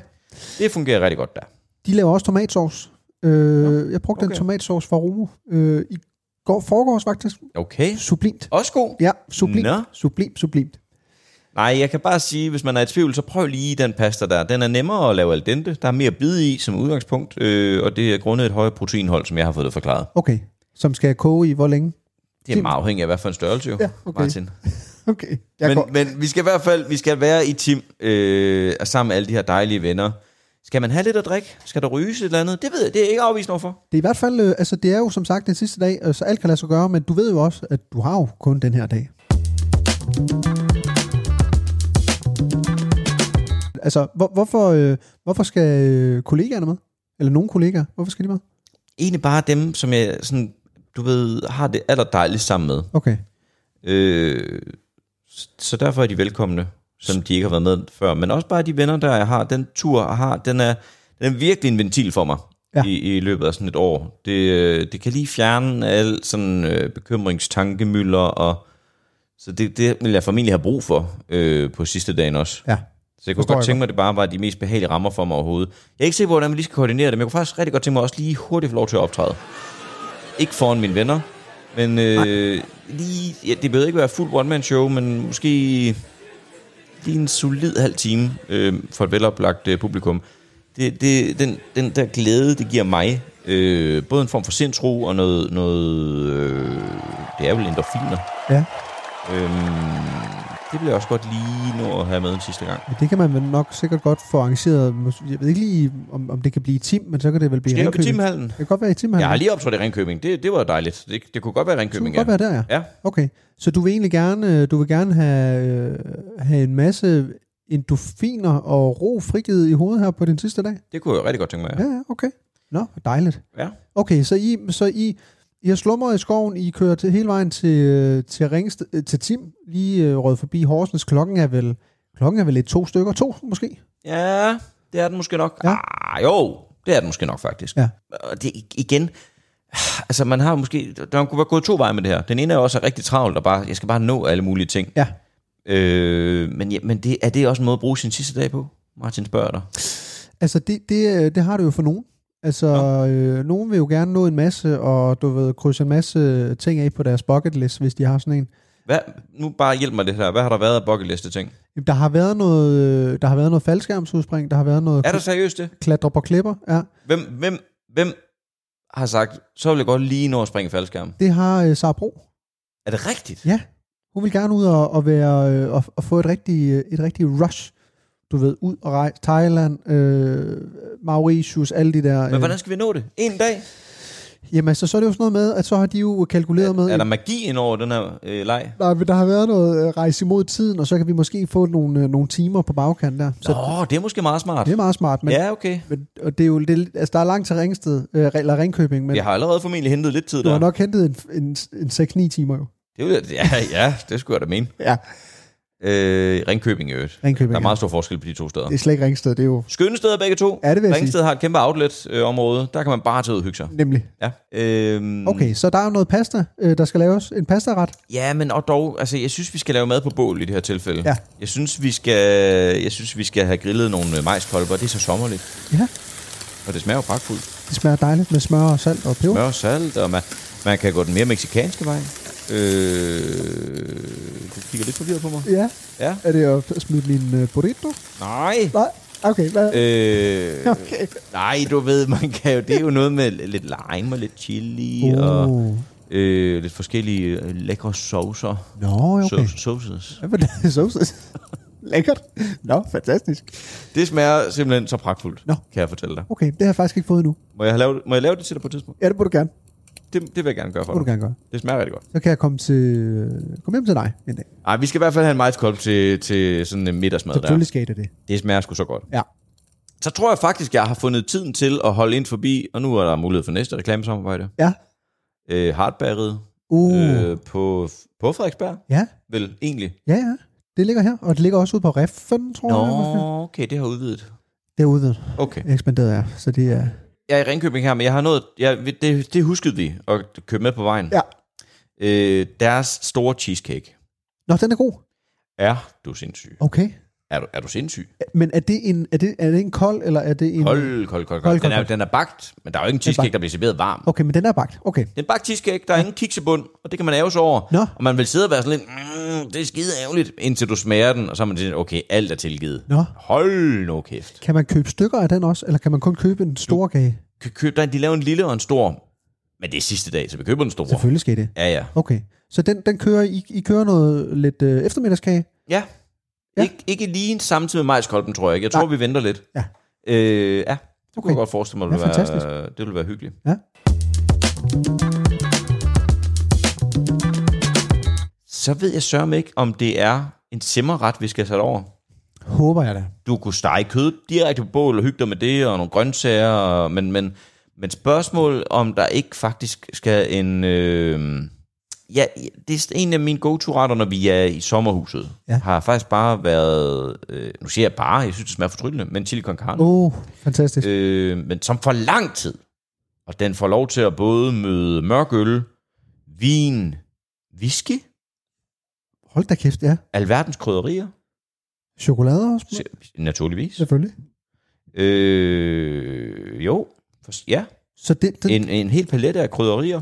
B: det fungerer rigtig godt der.
A: de laver også tomatsauce. Øh, jeg brugte okay. en
B: okay.
A: tomatsauce fra Romo øh, i går, foregårs faktisk.
B: Okay.
A: Sublimt.
B: Også god.
A: Ja, sublimt.
B: Nå.
A: Sublimt, sublimt.
B: Nej, jeg kan bare sige, hvis man er i tvivl, så prøv lige den pasta der. Den er nemmere at lave al dente. Der er mere bid i som udgangspunkt, øh, og det er grundet et højere proteinhold, som jeg har fået det forklaret.
A: Okay. som skal koge i hvor længe?
B: Det er meget afhængigt af, hvad for en størrelse jo,
A: Ja,
B: ja,
A: okay.
B: okay. Martin.
A: Okay. Jeg men, går.
B: Men, men vi skal i hvert fald vi skal være i Tim øh, og sammen med alle de her dejlige venner. Skal man have lidt at drikke? Skal der ryges et eller andet? Det ved jeg, det er jeg ikke afvist overfor.
A: Det er i hvert fald, øh, altså det er jo som sagt den sidste dag, øh, så alt kan lade sig gøre, men du ved jo også, at du har jo kun den her dag. Altså, hvor, hvorfor, øh, hvorfor skal øh, kollegaerne med? Eller nogle kollegaer, hvorfor skal de med?
B: Egentlig bare dem, som jeg sådan, du ved, har det allerdejligst sammen med.
A: Okay.
B: Øh, s- så derfor er de velkomne, som de ikke har været med før. Men også bare de venner, der jeg har, den tur, jeg har, den er, den er virkelig en ventil for mig
A: Ja.
B: ja. i, i løbet af sådan et år. Det, øh, det kan lige fjerne al sådan øh, bekymringstankemylder, og så det, det vil jeg formentlig have brug for øh, på sidste dagen også.
A: Ja.
B: Så jeg kunne
A: Forstår
B: godt
A: jeg
B: tænke mig, at det bare var de mest behagelige rammer for mig overhovedet. Jeg er ikke sikker på, hvordan vi lige skal koordinere det, men jeg kunne faktisk rigtig godt tænke mig også lige hurtigt at få lov til at optræde. Ikke foran mine venner, men øh, lige, ja, det behøver ikke være fuld one-man-show, men måske lige en solid halv time øh, for et veloplagt øh, publikum. Det, det, den, den der glæde, det giver mig, øh, både en form for sindsro og noget, noget øh, det er vel endorfiner.
A: Ja,
B: Øhm, det vil jeg også godt lige nå at have med en sidste gang.
A: men det kan man vel nok sikkert godt få arrangeret. Mås- Jeg ved ikke lige, om, om det kan blive i Tim, men så kan det vel blive i
B: Skal jeg på
A: Ringkøbing.
B: Timhallen?
A: Det kan godt være i Tim.
B: Jeg har lige optrådt i Ringkøbing. Det, det var dejligt. Det, det kunne godt være
A: Mhm. det kunne
B: Ringkøbing,
A: godt være der, ja.
B: Ja,
A: Okay, så du vil egentlig gerne, øh, du vil gerne have, øh, have en masse endofiner og ro frigivet i hovedet her på den sidste dag?
B: det kunne jeg rigtig godt tænke mig.
A: Ja,
B: Ja.
A: ja, okay. Nå, dejligt.
B: Ja.
A: Okay, så I, så I, I har slumret i skoven, I kører til, hele vejen til, øh, til, Ringsted, øh, til Tim, lige øh, rød forbi Horsens. Klokken er vel, klokken er vel et to stykker, to måske?
B: ja, det er den måske nok.
A: Ja.
B: Ja. Ah, jo, det er den måske nok faktisk.
A: Ja.
B: Og det i- igen, altså man har måske, der kunne være gået to veje med det her. Den ene er også rigtig travlt, og bare, jeg skal bare nå alle mulige ting.
A: Ja.
B: Øh, men ja, men det, er det også en måde at bruge sin sidste dag på? Martin spørger dig.
A: Altså, det, det, øh, det har du jo for nogen. Altså, ja. øh, nogen vil jo gerne nå en masse, og du ved, krydse en masse ting af på deres bucket list, hvis de har sådan en.
B: Hvad, nu bare hjælp mig det her. Hvad har der været af bucket liste ting?
A: Jamen, Der har været noget, øh, der har været noget faldskærmsudspring, der har været noget
B: Er der seriøst det?
A: klatre på klipper. Ja,
B: Hvem, hvem, hvem har sagt, så vil jeg godt lige nå at springe faldskærm?
A: det har øh, Sara Bro.
B: Er det rigtigt?
A: Ja. Hun vil gerne ud og, og være øh, og, og få et rigtig øh, et rigtig rush. Du ved, ud og rejse Thailand, øh, Mauritius, alle de der. Øh.
B: Men hvordan skal vi nå det? En dag?
A: Jamen altså, så er det jo sådan noget med, at så har de jo kalkuleret med.
B: Er der magi ind over den her øh, leg?
A: Nej, men der har været noget øh, rejse imod tiden, og så kan vi måske få nogle, øh, nogle timer på bagkanten der. Så
B: Nå, det er måske meget smart.
A: det er meget smart, men,
B: Ja, okay.
A: men og det er jo, det, er- altså, der er langt til Ringsted, øh, eller Ringkøbing, men
B: Jeg har allerede formentlig hentet lidt tid
A: du har
B: der.
A: nok hentet en, en, en 6-9 timer jo.
B: Det vil jeg, ja, ja, det skulle jeg da mene.
A: Ja,
B: Øh, Ringkøbing i øvrigt.
A: Ringkøbing.
B: Der er
A: ja.
B: meget stor forskel på de to steder.
A: Det er slet ikke Ringsted, det er jo
B: Skønne steder begge to.
A: Ja, det vil jeg sige.
B: Ringsted har et kæmpe outlet-område. Der kan man bare tage ud og hygge sig.
A: nemlig.
B: Ja. Øhm,
A: Okay, så der er jo noget pasta, øh, der skal laves. En pastaret.
B: Ja, men og dog, altså jeg synes, vi skal lave mad på bål i det her tilfælde.
A: Ja.
B: Jeg synes, vi skal, jeg synes, vi skal have grillet nogle øh, majskolber. Det er så sommerligt,
A: Ja,
B: og det smager jo pragtfuldt.
A: det smager dejligt med smør og salt og peber.
B: Mør og salt, og man, man kan gå den mere meksikanske vej. Øh, du kigger lidt forvirret på mig.
A: Ja,
B: Ja.
A: er det at smide min øh, burrito?
B: Nej.
A: Nej, okay, hvad?
B: Øh,
A: Okay.
B: nej, du ved, man kan jo, det er jo noget med lidt lime og lidt chili
A: Uh.
B: og øh, lidt forskellige øh, lækre saucer.
A: Nå, okay.
B: Sau- Sauces.
A: Hvad var det? Sovs? Lækkert. Nå, fantastisk.
B: Det smager simpelthen så pragtfuldt,
A: Nå.
B: kan jeg fortælle dig.
A: Okay, det har jeg faktisk ikke fået endnu.
B: Må jeg, have lavet, må jeg lave det til dig på et tidspunkt?
A: Ja, det må du gerne.
B: Det, det vil jeg gerne gøre
A: Det
B: for
A: må
B: dig.
A: du gerne gøre.
B: Det smager rigtig godt.
A: Så kan jeg komme, til, komme hjem til dig en dag.
B: Ej, vi skal i hvert fald have en majskolb til, til sådan en middagsmad der.
A: Selvfølgelig skal det det.
B: Det smager sgu så godt.
A: Ja.
B: Så tror jeg faktisk, jeg har fundet tiden til at holde ind forbi, og nu er der mulighed for næste reklamesamarbejde.
A: Ja.
B: Øh, Hartbæreriet
A: Uh.
B: øh, på, på Frederiksberg,
A: Ja,
B: vel egentlig.
A: ja, ja. Det ligger her, og det ligger også ude på Reffen, tror jeg. måske.
B: Nå, okay, det har udvidet.
A: Derude
B: Okay.
A: ekspanderet er, så det er...
B: Jeg er i Ringkøbing her, men jeg har nået, jeg, det, det huskede vi at købe med på vejen.
A: Ja.
B: Øh, deres store cheesecake.
A: Nå, den er god.
B: Er du sindssyg?
A: Okay.
B: Er du, er du sindssyg?
A: Men er det en, er det, er det en kold, eller er det en...
B: Kold, kold, kold,
A: Kold,
B: kold. Den
A: kold,
B: er,
A: kold.
B: den er bagt, men der er jo ikke en cheesecake, der bliver serveret varm.
A: Okay, men den er bagt. Okay.
B: Det er en bagt cheesecake, der er ingen kiksebund, og det kan man æve sig over.
A: Nå.
B: Og man vil sidde og være sådan lidt, mm, det er skide ærgerligt, indtil du smager den, og så er man sådan, okay, alt er tilgivet.
A: Nå.
B: Hold nu kæft.
A: Kan man købe stykker af den også, eller kan man kun købe en stor kage?
B: Kan købe dig- De laver en lille og en stor Men det er sidste dag, så vi køber den store.
A: Selvfølgelig skal I det.
B: Ja, ja.
A: Okay. Så den, den kører, I, I kører noget lidt øh, eftermiddagskage?
B: Ja.
A: Ja.
B: ja. Ik- ikke lige samtidig med majskolben, tror jeg ikke. Jeg tror,
A: Nej.
B: vi venter lidt.
A: Ja.
B: Øh, ja, det okay. kunne
A: Okay.
B: jeg godt forestille mig, det,
A: Ja,
B: ja, ville,
A: fantastisk.
B: være, det ville være hyggeligt.
A: Ja.
B: Så ved jeg sørme ikke, om det er en simmerret, vi skal sætte over.
A: Håber jeg da.
B: Du kunne stege kød direkte på bål og hygge dig med det, og nogle grøntsager, og, men, men, men spørgsmål, om der ikke faktisk skal en... Øh, ja, det er en af mine go-to-retter, når vi er i sommerhuset.
A: Ja.
B: Har faktisk bare været... Øh, nu siger jeg bare, jeg synes, det smager fortryllende, men chili con carne.
A: Åh, oh, fantastisk. Øh.
B: Øh, men som for lang tid. Og den får lov til at både møde mørk øl, vin, whisky,
A: Hold da kæft, ja.
B: alverdens krydderier,
A: Chokolade også? Se.
B: se- naturligvis.
A: Selvfølgelig.
B: Øh, jo, for, ja,
A: Så, den, den,
B: en, en hel palet af krydderier.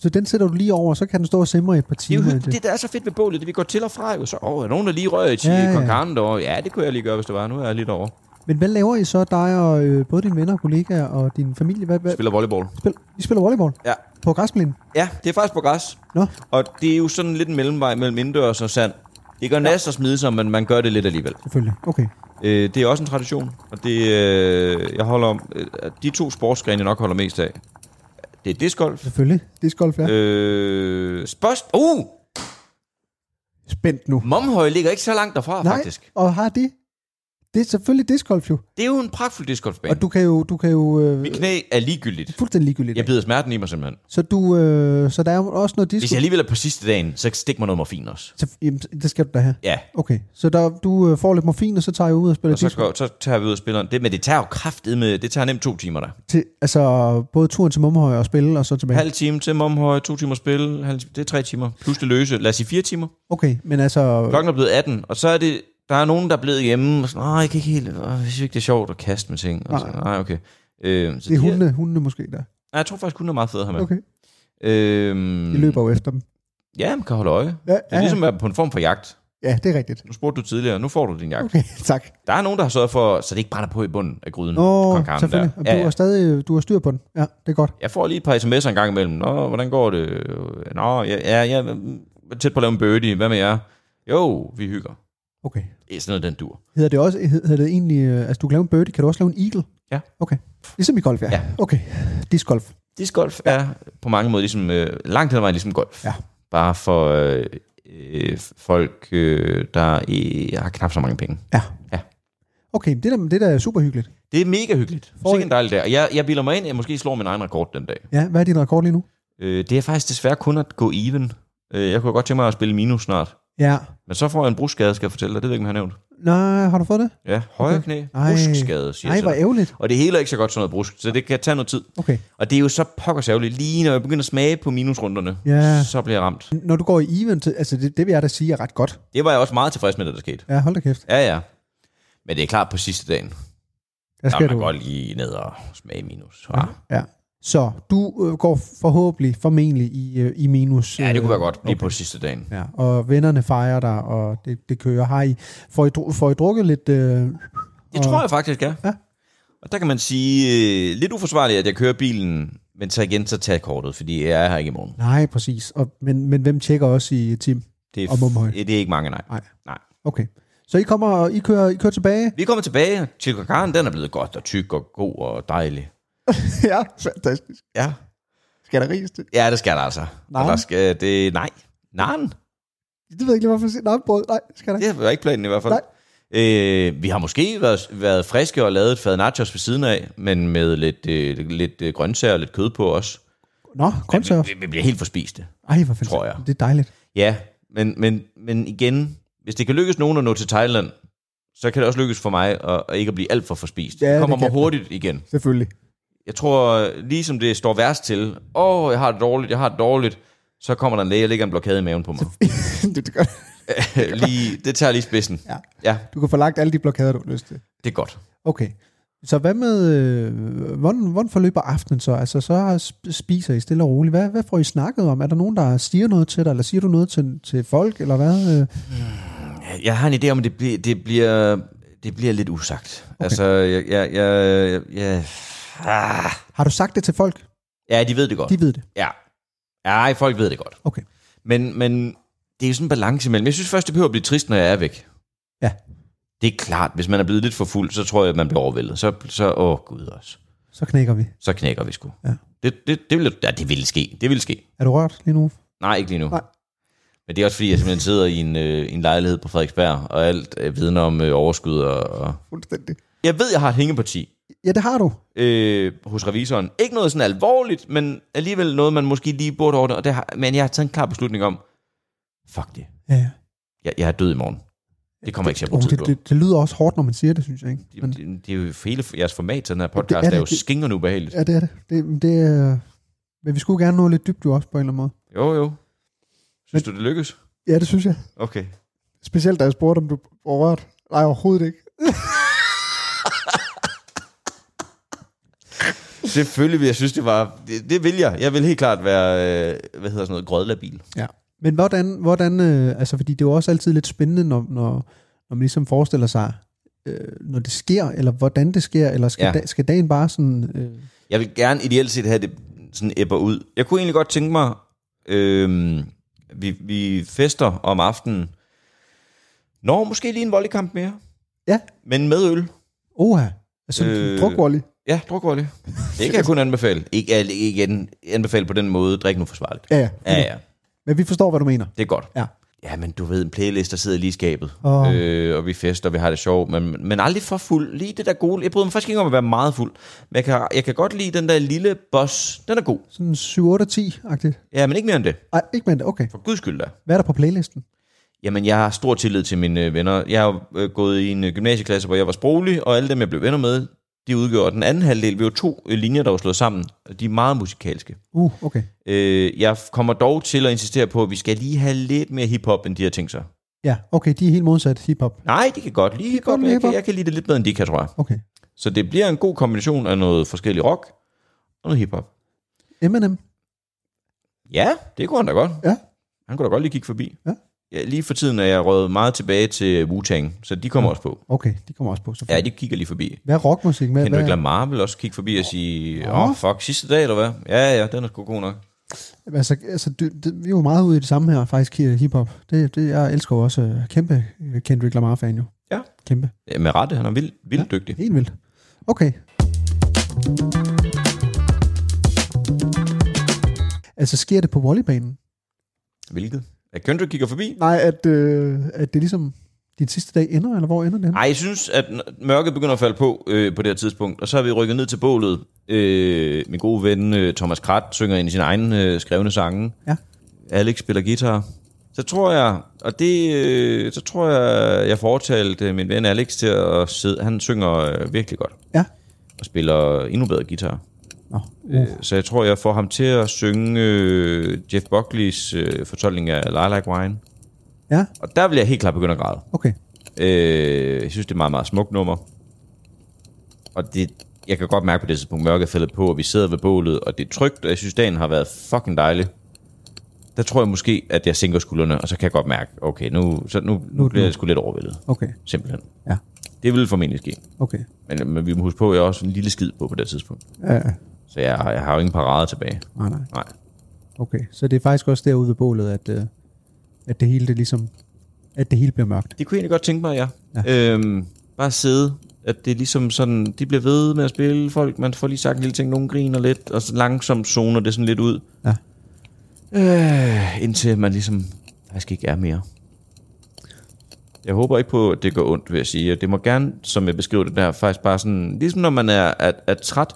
A: så den sætter du lige over, så kan den stå og simre i et par
B: Det er jo
A: timer.
B: hyggeligt. Det, der er så fedt ved bålet, det vi går til og fra. Jo. Så, åh, er der nogen, der lige rører i chili
A: Ja, ja.
B: ja, con carne derovre? Ja, det kunne jeg lige gøre, hvis det var. Nu er jeg lidt over.
A: Men hvad laver I så, dig og øh, både dine venner og kollegaer og din familie? Hvad, hvad,
B: Spiller volleyball.
A: spil, I spiller volleyball
B: Ja.
A: på græsplænen?
B: ja, det er faktisk på græs.
A: Nå,
B: Og det er jo sådan lidt en mellemvej mellem indendørs og sand. Det gør næsten at smide sig, men man gør det lidt alligevel.
A: selvfølgelig. Okay.
B: Øh, det er også en tradition, og det, øh, jeg holder om, øh, de to sportsgrene, jeg nok holder mest af, det er discgolf.
A: Selvfølgelig. Det skal ja. øh.
B: Øh, spørgsmål... Uh!
A: Spændt nu.
B: Momhøj ligger ikke så langt derfra, Nej. faktisk.
A: og har det? Det er selvfølgelig discgolf jo.
B: Det er jo en pragtfuld discgolfbane.
A: Og du kan jo, du kan jo øh,
B: Mit knæ er ligegyldigt.
A: fuldstændig ligegyldigt.
B: Jeg bider smerten i mig simpelthen.
A: Så, du, øh, så der er jo også noget
B: Hvis
A: disco.
B: jeg alligevel er på sidste dagen, så stik mig noget morfin også.
A: Så, jamen, det skal du da have.
B: Ja,
A: Okay, så der, du øh, får lidt morfin, og så tager jeg ud og spiller
B: og så,
A: disco.
B: går, så tager vi ud og spiller. Det, men det tager jo kraftet med, det tager nemt to timer der.
A: Til, altså både turen til Mumhøj og spille, og så tilbage.
B: Halv time til Momhøj, to timer spil, halv, det er tre timer. Plus det løse, lad os sige fire timer.
A: Okay, men altså...
B: Klokken er blevet 18, og så er det, der er nogen, der er blevet hjemme, og sådan, nej, jeg kan ikke helt, åh, jeg synes ikke, det er sjovt at kaste med ting. Og så, nej, okay. Øh, så
A: Det er
B: de her-
A: hundene, hundene måske der.
B: Nej, jeg tror faktisk, hun er meget fed her med.
A: Okay,
B: Øhm,
A: de løber jo efter dem.
B: Ja, man kan holde øje. Det
A: Ja,
B: er
A: ja,
B: ligesom at være på en form for jagt.
A: ja, det er rigtigt.
B: Nu spurgte du tidligere, nu får du din jagt.
A: Okay, tak.
B: Der er nogen, der har sørget for, så det ikke brænder på i bunden af gryden.
A: Nå,
B: Kong Mm. Karen
A: selvfølgelig.
B: der.
A: Og
B: Ja,
A: Du
B: ja.
A: har stadig du har styr på den. Ja, det er godt.
B: Jeg får lige et par sms'er en gang imellem. Nå, hvordan går det? Nå, ja, ja, jeg er tæt på at lave en birdie. Hvad med jer? Jo, vi hygger.
A: Okay.
B: Det er sådan noget, den dur.
A: Hedder det også, hed- hedder det egentlig, øh, altså du kan lave en birdie, kan du også lave en eagle?
B: Ja.
A: Okay. Ligesom i golf, ja.
B: Ja.
A: Okay. Discgolf.
B: Discgolf er på mange måder ligesom, øh, langt hen ad vejen ligesom golf.
A: Ja.
B: Bare for øh, øh, folk, øh, der øh, har knap så mange penge.
A: Ja.
B: Ja.
A: Okay, det der, det der er super hyggeligt.
B: Det er mega hyggeligt.
A: Får
B: Sikke
A: I-
B: en dejlig dag. Og Jeg, jeg bilder mig ind, at jeg måske slår min egen rekord den dag.
A: Ja, hvad er din rekord lige nu?
B: Øh, det er faktisk desværre kun at gå even. Øh, jeg kunne godt tænke mig at spille minus snart.
A: Ja.
B: Men så får jeg en bruskskade, skal jeg fortælle dig. Det ved jeg ikke, om jeg har nævnt.
A: Nej, har du fået det?
B: Ja, højre knæ.
A: Ej.
B: Bruskskade, siger
A: Nej,
B: jeg
A: hvor
B: så.
A: ærgerligt.
B: Og det hele er ikke så godt sådan noget brusk, så det kan tage noget tid.
A: Okay.
B: Og det er jo så pokkersærligt. Lige når jeg begynder at smage på minusrunderne,
A: Ja.
B: så bliver jeg ramt.
A: Når du går i event, altså det, det vil jeg da sige er ret godt.
B: Det var jeg også meget tilfreds med, da det skete.
A: Ja, hold da kæft.
B: Ja, ja. Men det er klart på sidste dagen.
A: Der
B: Der
A: skal
B: kan man
A: du.
B: godt lige ned og smage minus. Ah, Ja,
A: Ja. Så du øh, går forhåbentlig, formentlig i, øh, i minus.
B: ja det kunne
A: øh,
B: være godt lige okay. på sidste dagen.
A: Ja, og vennerne fejrer dig, og det, det kører. Har I, får, I, dru- får I drukket lidt? Øh,
B: Det tror jeg faktisk, ja.
A: Ja.
B: Og der kan man sige, øh, lidt uforsvarligt, at jeg kører bilen, men så igen, så tager kortet, fordi jeg er her ikke i morgen.
A: Nej, præcis. Og, men, men hvem tjekker også i øh, Tim?
B: Det er,
A: Og Momhøj.
B: det er ikke mange, nej.
A: Nej.
B: nej.
A: Okay. Så I kommer og I kører, I kører tilbage?
B: Vi kommer tilbage. Chili con carne, den er blevet godt og tyk og god og dejlig.
A: ja, fantastisk.
B: Ja.
A: Skal der riges det?
B: Ja, det skal der altså.
A: Nej.
B: Og Der skal det... Nej. Nej.
A: Det ved jeg ikke lige, hvorfor jeg siger. Nej, brød. Nej, skal der ikke.
B: Det var ikke planen i hvert fald.
A: Nej.
B: Øh, vi har måske været, været friske og lavet et fad nachos ved siden af, men med lidt, øh, lidt øh, grøntsager og lidt kød på os.
A: Nå,
B: Men
A: grøntsager.
B: Vi, vi, vi bliver helt forspiste.
A: Ej, hvor fantastisk.
B: Tror jeg.
A: Det er dejligt.
B: Ja, men, men, men igen, hvis det kan lykkes nogen at nå til Thailand, så kan det også lykkes for mig at, at ikke at blive alt for forspist.
A: Ja,
B: Ja,
A: det
B: det kommer mig
A: kan det.
B: hurtigt igen.
A: Selvfølgelig.
B: Jeg tror, ligesom det står værst til, åh, oh, jeg har det dårligt, jeg har det dårligt, så kommer der en læge og lægger en blokade i maven på mig.
A: det gør
B: lige, det tager lige spidsen.
A: Ja.
B: ja,
A: Du kan få lagt alle de blokader, du har lyst til.
B: det er godt.
A: Okay. Så hvad med, øh, hvordan, hvordan forløber aftenen så? Altså, så sp- spiser I stille og roligt. Hvad, hvad får I snakket om? Er der nogen, der siger noget til dig, eller siger du noget til, til folk, eller hvad? Øh,
B: Jeg har en idé om, at det, bliver, det, bliver, det bliver lidt usagt. Okay. Altså, jeg... jeg, jeg, jeg ah.
A: Har du sagt det til folk?
B: Ja, de ved det godt.
A: De ved det.
B: Ja. Ej, folk ved det godt.
A: Okay.
B: Men, men det er jo sådan en balance imellem. Jeg synes først, det behøver at blive trist, når jeg er væk.
A: Ja.
B: Det er klart, hvis man er blevet lidt for fuld, så tror jeg, at man bliver overvældet. Så, så åh gud også.
A: Så knækker vi.
B: Så knækker vi sgu.
A: Ja.
B: Det, det, det, ville, ja, det ville ske. Det ville ske.
A: Er du rørt lige nu?
B: Nej, ikke lige nu.
A: Nej.
B: Men det er også fordi, jeg simpelthen sidder i en, øh, i en lejlighed på Frederiksberg, og alt øh, vidner om øh, overskud. Og, og...
A: Fuldstændig.
B: Jeg ved, jeg har et hængeparti.
A: Ja, det har du.
B: øh, hos revisoren. Ikke noget sådan alvorligt, men alligevel noget, man måske lige burde ordne. Og det har, men jeg har taget en klar beslutning om, fuck det,
A: Ja, ja.
B: jeg, jeg er død i morgen. Det kommer jeg ikke til at bruge
A: Oh,
B: tid
A: det,
B: på.
A: det, det, lyder også hårdt, når man siger det, synes jeg. Ikke? Men,
B: Det, det, det er jo hele jeres format til den her
A: det er
B: podcast, det er,
A: det.
B: jo skingerne ubehageligt.
A: ja, det er det. det, det er, men vi skulle gerne nå lidt dybt jo også på en eller anden måde.
B: Jo, jo. Synes du, det lykkes?
A: Ja, det synes jeg.
B: Okay.
A: Specielt da jeg spurgte, om du var rørt. Nej, overhovedet ikke.
B: Selvfølgelig, vil jeg synes, det var... Det, det vil jeg. Jeg vil helt klart være, øh, hvad hedder sådan noget, grødlabil.
A: Ja. Men hvordan, hvordan øh, altså fordi det er jo også altid lidt spændende, når, når, når man ligesom forestiller sig, øh, når det sker, eller hvordan det sker, eller skal, ja.
B: Ja.
A: da, skal dagen bare sådan... Øh,
B: Jeg vil gerne ideelt set have det sådan æbber ud. Jeg kunne egentlig godt tænke mig, øh, vi, vi fester om aftenen. Nå, måske lige en volleykamp mere.
A: Ja.
B: Men med øl.
A: oha, altså øh,
B: Øh,
A: drukvolley.
B: Ja, druk volley. Det kan jeg kun anbefale. Ikke, al- ikke an- anbefale på den måde, drik nu forsvarligt.
A: Ja, ja.
B: Ja, ja,
A: Men vi forstår, hvad du mener.
B: det er godt.
A: Ja.
B: Ja, men du ved, en playlist, der sidder lige i skabet.
A: Åh.
B: Øh, og vi fester, og vi har det sjovt, men, men aldrig for fuld. Lige det der gode. Jeg bryder mig faktisk ikke om at være meget fuld. Men jeg kan, jeg kan godt lide den der lille boss. Den er god.
A: Sådan 7-8-10-agtigt.
B: Ja, men ikke mere end det.
A: Ej, ikke mindre. Okay.
B: For guds skyld da.
A: Hvad er der på playlisten?
B: Jamen, jeg har stor tillid til mine øh, venner. Jeg har jo, øh, gået i en øh, gymnasieklasse, hvor jeg var sproglig, og alle dem, jeg blev venner med, de udgjorde den anden halvdel. Vi var to øh, linjer, der var slået sammen, og de er meget musikalske.
A: Uh, okay.
B: Øh, jeg kommer dog til at insistere på, at vi skal lige have lidt mere hiphop, end de har tænkt sig.
A: Ja, okay, de er helt modsat hiphop.
B: Nej, de kan godt lide hiphop,
A: godt
B: men
A: lide
B: jeg kan,
A: hiphop.
B: jeg kan lide det lidt bedre, end de kan, tror jeg.
A: Okay.
B: Så det bliver en god kombination af noget forskellig rock og noget hiphop.
A: Eminem.
B: Ja, det kunne han da godt.
A: Ja.
B: Han kunne da godt lige kigge forbi.
A: Ja.
B: Ja, lige for tiden er jeg røget meget tilbage til Wu-Tang, så de kommer også på.
A: Okay, de kommer også på.
B: Ja,
A: selvfølgelig.
B: de kigger lige forbi.
A: Hvad er rockmusik? Hvad,
B: Kendrick
A: hvad,
B: Lamar vil også kigge forbi og sige,
A: Åh.
B: åh, oh, fuck, sidste dag, eller hvad? Ja, ja, den er sgu god nok.
A: altså, altså du, det, vi er jo meget ude i det samme her, faktisk, i øh, hiphop. Det, det, jeg elsker jo også øh, kæmpe øh, Kendrick Lamar-fan jo.
B: Ja.
A: Kæmpe.
B: Ja, Med rette, han er vildt, vildt ja. dygtig.
A: Helt vildt. Okay. Altså, sker det på volleybanen?
B: Hvilket? At Kendrick kigger forbi?
A: Nej, at, øh, at det ligesom din sidste dag ender, eller hvor ender det? henne?
B: Nej, jeg synes, at n- mørket begynder at falde på øh, på det her tidspunkt, og så har vi rykket ned til bålet. Øh, min gode ven øh, Thomas Krat synger ind i sin egen øh, skrevne sange.
A: Ja.
B: Alex spiller guitar. Så tror jeg, og det, øh, så tror jeg, jeg fortalte min ven Alex til at sidde. Han synger øh, virkelig godt
A: Ja.
B: og spiller endnu bedre guitar.
A: Nå, Uh.
B: Øh, Så jeg tror, jeg får ham til at synge øh, Jeff Buckleys øh, fortolkning af Lilac Wine.
A: Ja.
B: Og der vil jeg helt klart begynde at græde.
A: okay.
B: Øh, jeg synes, det er et meget, meget smukt nummer. Og det, jeg kan godt mærke på det tidspunkt, mørket er faldet på, og vi sidder ved bålet, og det er trygt, og jeg synes, dagen har været fucking dejlig. Der tror jeg måske, at jeg sænker skuldrene, og så kan jeg godt mærke, okay, nu, så nu, nu bliver jeg sgu lidt overvældet,
A: Okay,
B: simpelthen.
A: Ja.
B: Det vil formentlig ske.
A: okay.
B: Men, men vi må huske på, at jeg er også en lille skid på på det tidspunkt.
A: Ja, ja.
B: Så jeg, har- jeg har jo ingen parade tilbage.
A: nej, nej.
B: Nej.
A: Okay, så det er faktisk også derude ved bålet, at, øh, at det hele det ligesom, at det hele bliver mørkt.
B: Det kunne jeg egentlig godt tænke mig, ja. ja. Øhm, bare sidde, at det er ligesom sådan, de bliver ved med at spille folk, man får lige sagt en lille ting, nogen griner lidt, og så langsomt zoner det sådan lidt ud.
A: Ja.
B: Øh, indtil man ligesom faktisk ikke er mere. Jeg håber ikke på, at det går ondt, vil jeg sige. Det må gerne, som jeg beskriver det der, faktisk bare sådan, ligesom når man er, er, er træt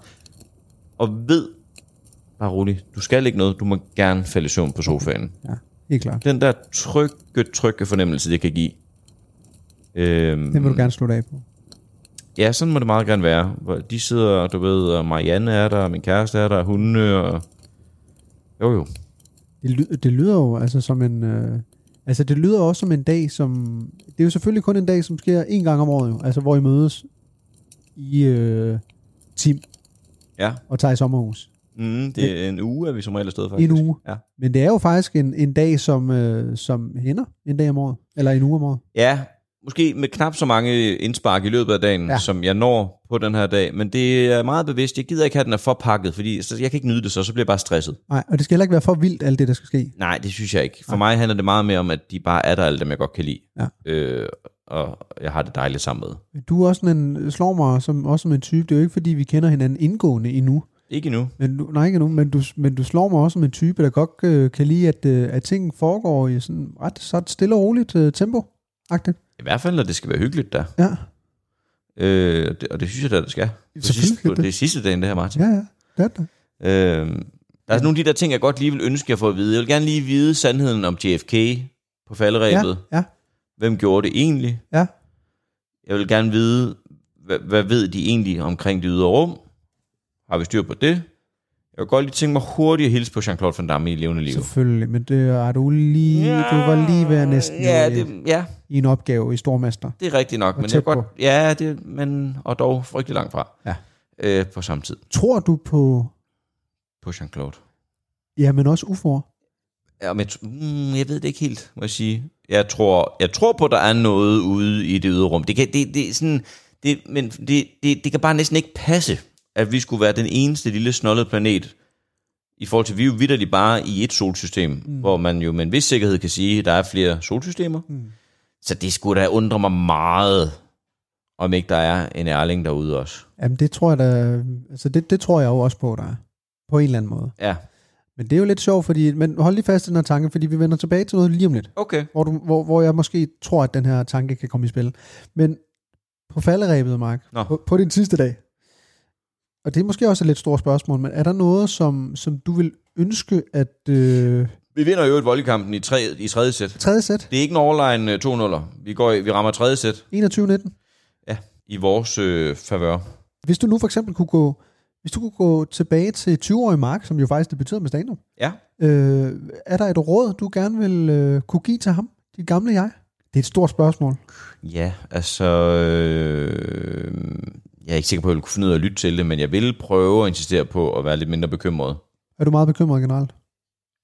B: og ved, bare rolig, du skal ikke noget, du må gerne falde i søvn på sofaen
A: Ja, helt klart.
B: den der trygge, trygge fornemmelse, det kan give. Øhm,
A: Det vil du gerne slutte af på.
B: ja, sådan må det meget gerne være. Hvor De sidder, du ved, og Marianne er der, og min kæreste er der, og hundene, og... Jo, jo.
A: Det, ly- det lyder jo altså som en... Øh, altså det lyder også som en dag, som... Det er jo selvfølgelig kun en dag, som sker en gang om året jo. Altså hvor I mødes i øh, Tim
B: Ja.
A: og tager i sommerhus.
B: Mm, det er en uge, er vi som regel afsted,
A: En
B: faktisk.
A: uge.
B: Ja.
A: Men det er jo faktisk en, en dag, som, øh, som hænder en dag om året. Eller en uge om året.
B: Ja, måske med knap så mange indspark i løbet af dagen,
A: Ja.
B: ja. som jeg når på den her dag, men det er meget bevidst. Jeg gider ikke have, at den er forpakket, fordi så- jeg kan ikke nyde det så, så bliver jeg bare stresset.
A: Nej, og det skal heller ikke være for vildt, alt det, der skal ske.
B: Nej, det synes jeg ikke. For mig handler det meget mere om, at de bare er der, alle dem, jeg godt kan lide.
A: Ja.
B: Øh, og jeg har det dejligt sammen med.
A: Du er også sådan en, slår mig som, også som en type. Det er jo ikke, fordi vi kender hinanden indgående endnu.
B: Ikke endnu.
A: Men du, nej, ikke endnu, men du, men du slår mig også som en type, der godt øh, kan lide, at, øh, at ting foregår i sådan ret så stille og roligt øh, tempo. Agtigt.
B: I hvert fald, når det skal være hyggeligt der.
A: Ja,
B: Øh, og det, og det synes jeg da, det skal. På
A: Selvfølgelig
B: sidste,
A: skal
B: på,
A: det.
B: det er sidste dagen, det her, Martin.
A: ja, ja. Det er det.
B: Øh, der er nogle af de der ting, jeg godt lige vil ønske, jeg får at vide. Jeg vil gerne lige vide sandheden om JFK på
A: Ja,
B: falderæbet.
A: ja,
B: Hvem gjorde det egentlig?
A: ja.
B: Jeg vil gerne vide, hvad, hvad ved de egentlig omkring det ydre rum? Har vi styr på det? Jeg kunne godt lige tænke mig hurtigt at hilse på Jean-Claude Van Damme i levende liv.
A: Selvfølgelig, men det er du lige, du var lige ved at næsten
B: Ja,
A: øh,
B: det, ja,
A: i en opgave i Stormester.
B: det er rigtigt nok. Men jeg
A: tæt
B: kan godt, ja, det, men, og dog frygtelig langt fra.
A: Ja.
B: Øh, på samme tid.
A: Tror du på,
B: På Jean-Claude.
A: ja, men også UFO'er?
B: Ja, men, jeg tr- mm, jeg ved det ikke helt, må jeg sige. Jeg tror, jeg tror på, der er noget ude i det ydre rum. Det kan, det, det, er sådan, det, men det, det, det kan bare næsten ikke passe, at vi skulle være den eneste lille snollede planet, i forhold til, vi er jo vidderligt bare i et solsystem, mm. hvor man jo med en vis sikkerhed kan sige, at der er flere solsystemer. Mm. Så det skulle da undre mig meget, om ikke der er en ærling derude også.
A: Jamen det tror jeg da, altså det, det tror jeg jo også på, der er. På en eller anden måde.
B: Ja,
A: Men det er jo lidt sjovt, fordi, men hold lige fast i den her tanke, fordi vi vender tilbage til noget lige om lidt.
B: okay.
A: hvor, du, hvor, hvor jeg måske tror, at den her tanke kan komme i spil. Men på falderæbet, Mark,
B: Nå.
A: på, på din sidste dag, og det er måske også et lidt stort spørgsmål, men er der noget, som, som du vil ønske, at... Øh,
B: Vi vinder jo et voldkampen i, tre, i tredje sæt.
A: tredje sæt,
B: Det er ikke en overlegen øh, 2-0'er. Vi, går, i- vi rammer tredje sæt.
A: 21-19.
B: Ja, i vores øh, favør.
A: Hvis du nu for eksempel kunne gå, hvis du kunne gå tilbage til 20-årige Mark, som jo faktisk debuterede med stand
B: Ja.
A: øh, er der et råd, du gerne vil øh, kunne give til ham, dit gamle jeg? Det er et stort spørgsmål.
B: Ja, altså... Øh, jeg er ikke sikker på, at jeg ville kunne finde ud af at lytte til det, men jeg vil prøve at insistere på at være lidt mindre bekymret.
A: Er du meget bekymret generelt?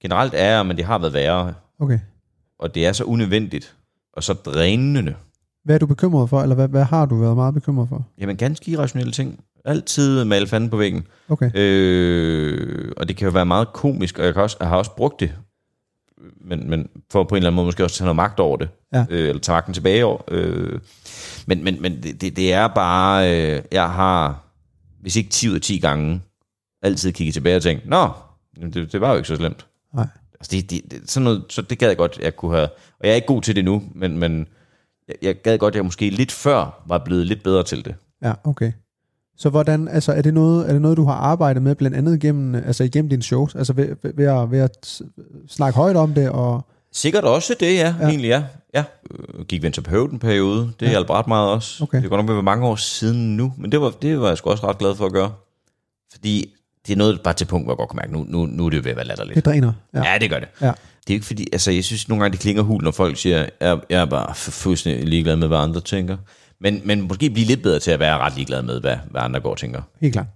B: Generelt er jeg, men det har været værre,
A: Okay.
B: og det er så unødvendigt og så drænende.
A: Hvad er du bekymret for, eller hvad, hvad har du været meget bekymret for?
B: Jamen, ganske irrationelle ting. Altid male fanden på væggen.
A: Okay.
B: Øh, og det kan jo være meget komisk, og jeg, kan også, jeg har også brugt det, men, men for på en eller anden måde måske også at tage noget magt over det,
A: Ja.
B: øh, eller tage magten tilbage over. Øh, men men, men det, det, det er bare, øh, jeg har, hvis ikke 10 ud af 10 gange, altid kigget tilbage og tænkt, nå, jamen det, det var jo ikke så slemt.
A: Nej.
B: Altså det, det, det, sådan noget, så det gad jeg godt, jeg kunne have, og jeg er ikke god til det nu, men, men jeg, jeg gad godt, jeg måske lidt før var blevet lidt bedre til det.
A: Ja, okay. Så hvordan, altså er det noget, er det noget du har arbejdet med blandt andet gennem, altså igennem dine shows, altså ved, ved, ved, at, ved at s- snakke højt om det, og
B: Sikkert også det, ja.
A: Ja.
B: ja. Egentlig, ja. ja. Øh, Gik venterapeut en periode. Det ja. hjalp ret meget også.
A: Okay.
B: Det er godt nok ved at være mange år siden nu. Men det var, det var jeg sgu også ret glad for at gøre. Fordi det er noget, bare til punkt, hvor jeg godt kan mærke, nu, nu, nu er det ved at være latterligt.
A: det dræner. Ja.
B: Ja, det gør det.
A: Ja.
B: Det er jo ikke fordi, altså jeg synes nogle gange, det klinger hul, når folk siger, jeg, jeg er bare fu- fuldstændig ligeglad med, hvad andre tænker. Men, men måske blive lidt bedre til at være ret ligeglad med, hvad, hvad andre går og tænker.
A: Helt klart.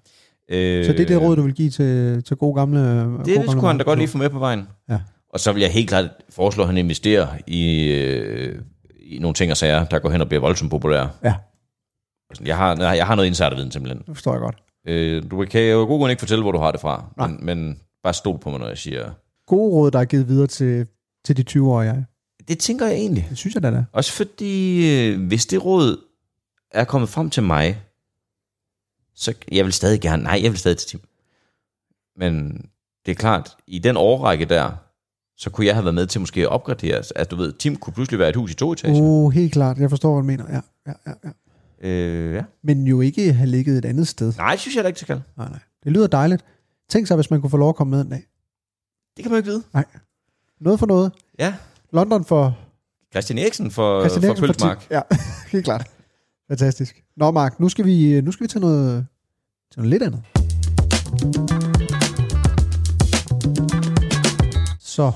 B: Øh,
A: Så det er det råd, du vil give til, til gode gamle... gode
B: Det
A: gamle
B: skulle han da
A: Mark?
B: godt lige få med på vejen.
A: Ja.
B: Og så vil jeg helt klart foreslå, at han investerer i, øh, i nogle ting og sager, der går hen og bliver voldsomt populære.
A: Ja,
B: Sådan, Jeg har, jeg har noget insiderviden simpelthen.
A: det forstår jeg godt.
B: Øh, du kan jo af god grund ikke fortælle, hvor du har det fra,
A: Nej.
B: men, men bare stol på mig, når jeg siger...
A: Gode råd, der er givet videre til, til de 20-årige. jeg.
B: Det tænker jeg egentlig.
A: Det synes jeg da da.
B: Også fordi, øh, hvis det råd er kommet frem til mig, så jeg vil stadig gerne... Nej, jeg vil stadig til Tim. Men det er klart, i den årrække der, så kunne jeg have været med til måske at opgradere. At du ved, Tim kunne pludselig være et hus i to etager.
A: Uh, helt klart. Jeg forstår, hvad du mener. Ja, ja, ja, ja.
B: Øh, ja.
A: Men jo ikke have ligget et andet sted.
B: Nej, det synes jeg da ikke, det skal.
A: Nej, nej. Det lyder dejligt. Tænk sig, hvis man kunne få lov at komme med en dag.
B: Det kan man jo ikke vide.
A: Noget for noget.
B: Ja.
A: London for
B: Christian Eriksen for,
A: Christian Eriksen fra
B: for Pølsmark.
A: Ti- Ja, helt klart. Fantastisk. Nå, Mark, nu skal vi, øh, nu skal vi til, noget, til noget lidt andet. Så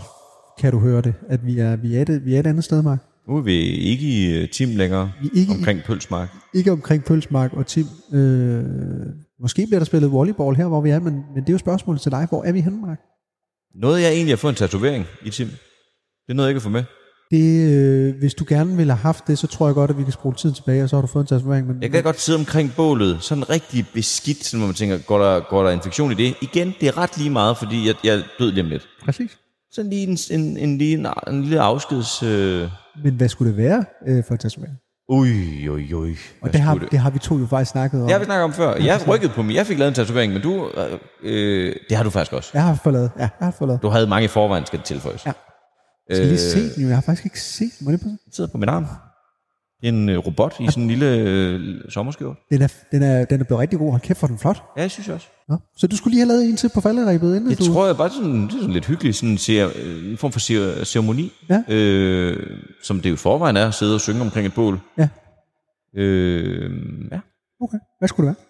A: kan du høre det, at vi er, vi er, det, vi er et andet sted, Mark.
B: Nu er vi ikke i øh, Tim længere
A: Vi er ikke, omkring.
B: omkring Pølsmark.
A: ikke omkring Pølsmark og Tim. Øh, måske bliver der spillet volleyball her, hvor vi er, men, men det er jo spørgsmålet til dig. Hvor er vi henne, Mark?
B: Noget jeg egentlig har fået en tatovering i Tim. Det er noget, jeg kan få med.
A: Det, øh, hvis du gerne ville have haft det, så tror jeg godt, at vi kan spole tiden tilbage, og så har du fået en tatovering. Men
B: Jeg kan godt sidde omkring bålet, sådan rigtig beskidt, sådan, hvor man tænker, går der, går der infektion i det? Igen, det er ret lige meget, fordi jeg, jeg er død lige om lidt.
A: Præcis.
B: Sådan lige en, en, en, lige en, en lille afskeds... Øh...
A: Men hvad skulle det være øh, for en tatovering?
B: Ui, ui, ui.
A: Og det har, det har vi to jo faktisk snakket om.
B: Det har vi snakket om før. Jeg rykkede på mig. Jeg fik lavet en tatovering, men du... øh, Øh, det har du faktisk også.
A: Jeg har forladet. Ja, jeg har forladet.
B: Du havde mange i forvejen, skal det tilføjes.
A: Ja. Jeg skal
B: Øh.
A: lige se den jo. Jeg har faktisk ikke set den. Må jeg lige prøve?
B: Den sidder på min arm. En øh, robot i sådan en lille øh, sommerskjorte.
A: Den er, den, er, den er blevet rigtig god. Hold kæft, for den flot.
B: Ja, jeg synes jeg også.
A: Nå. Så du skulle lige have lavet en til på falderæbet, inden
B: Det
A: du...
B: tror jeg bare sådan, det er sådan lidt hyggeligt, sådan en, cer- øh, en form for cer- ceremoni,
A: Ja.
B: øh, som det jo i forvejen er, at sidde og synge omkring et bål.
A: Ja.
B: Øh, ja.
A: Okay. Hvad skulle det være?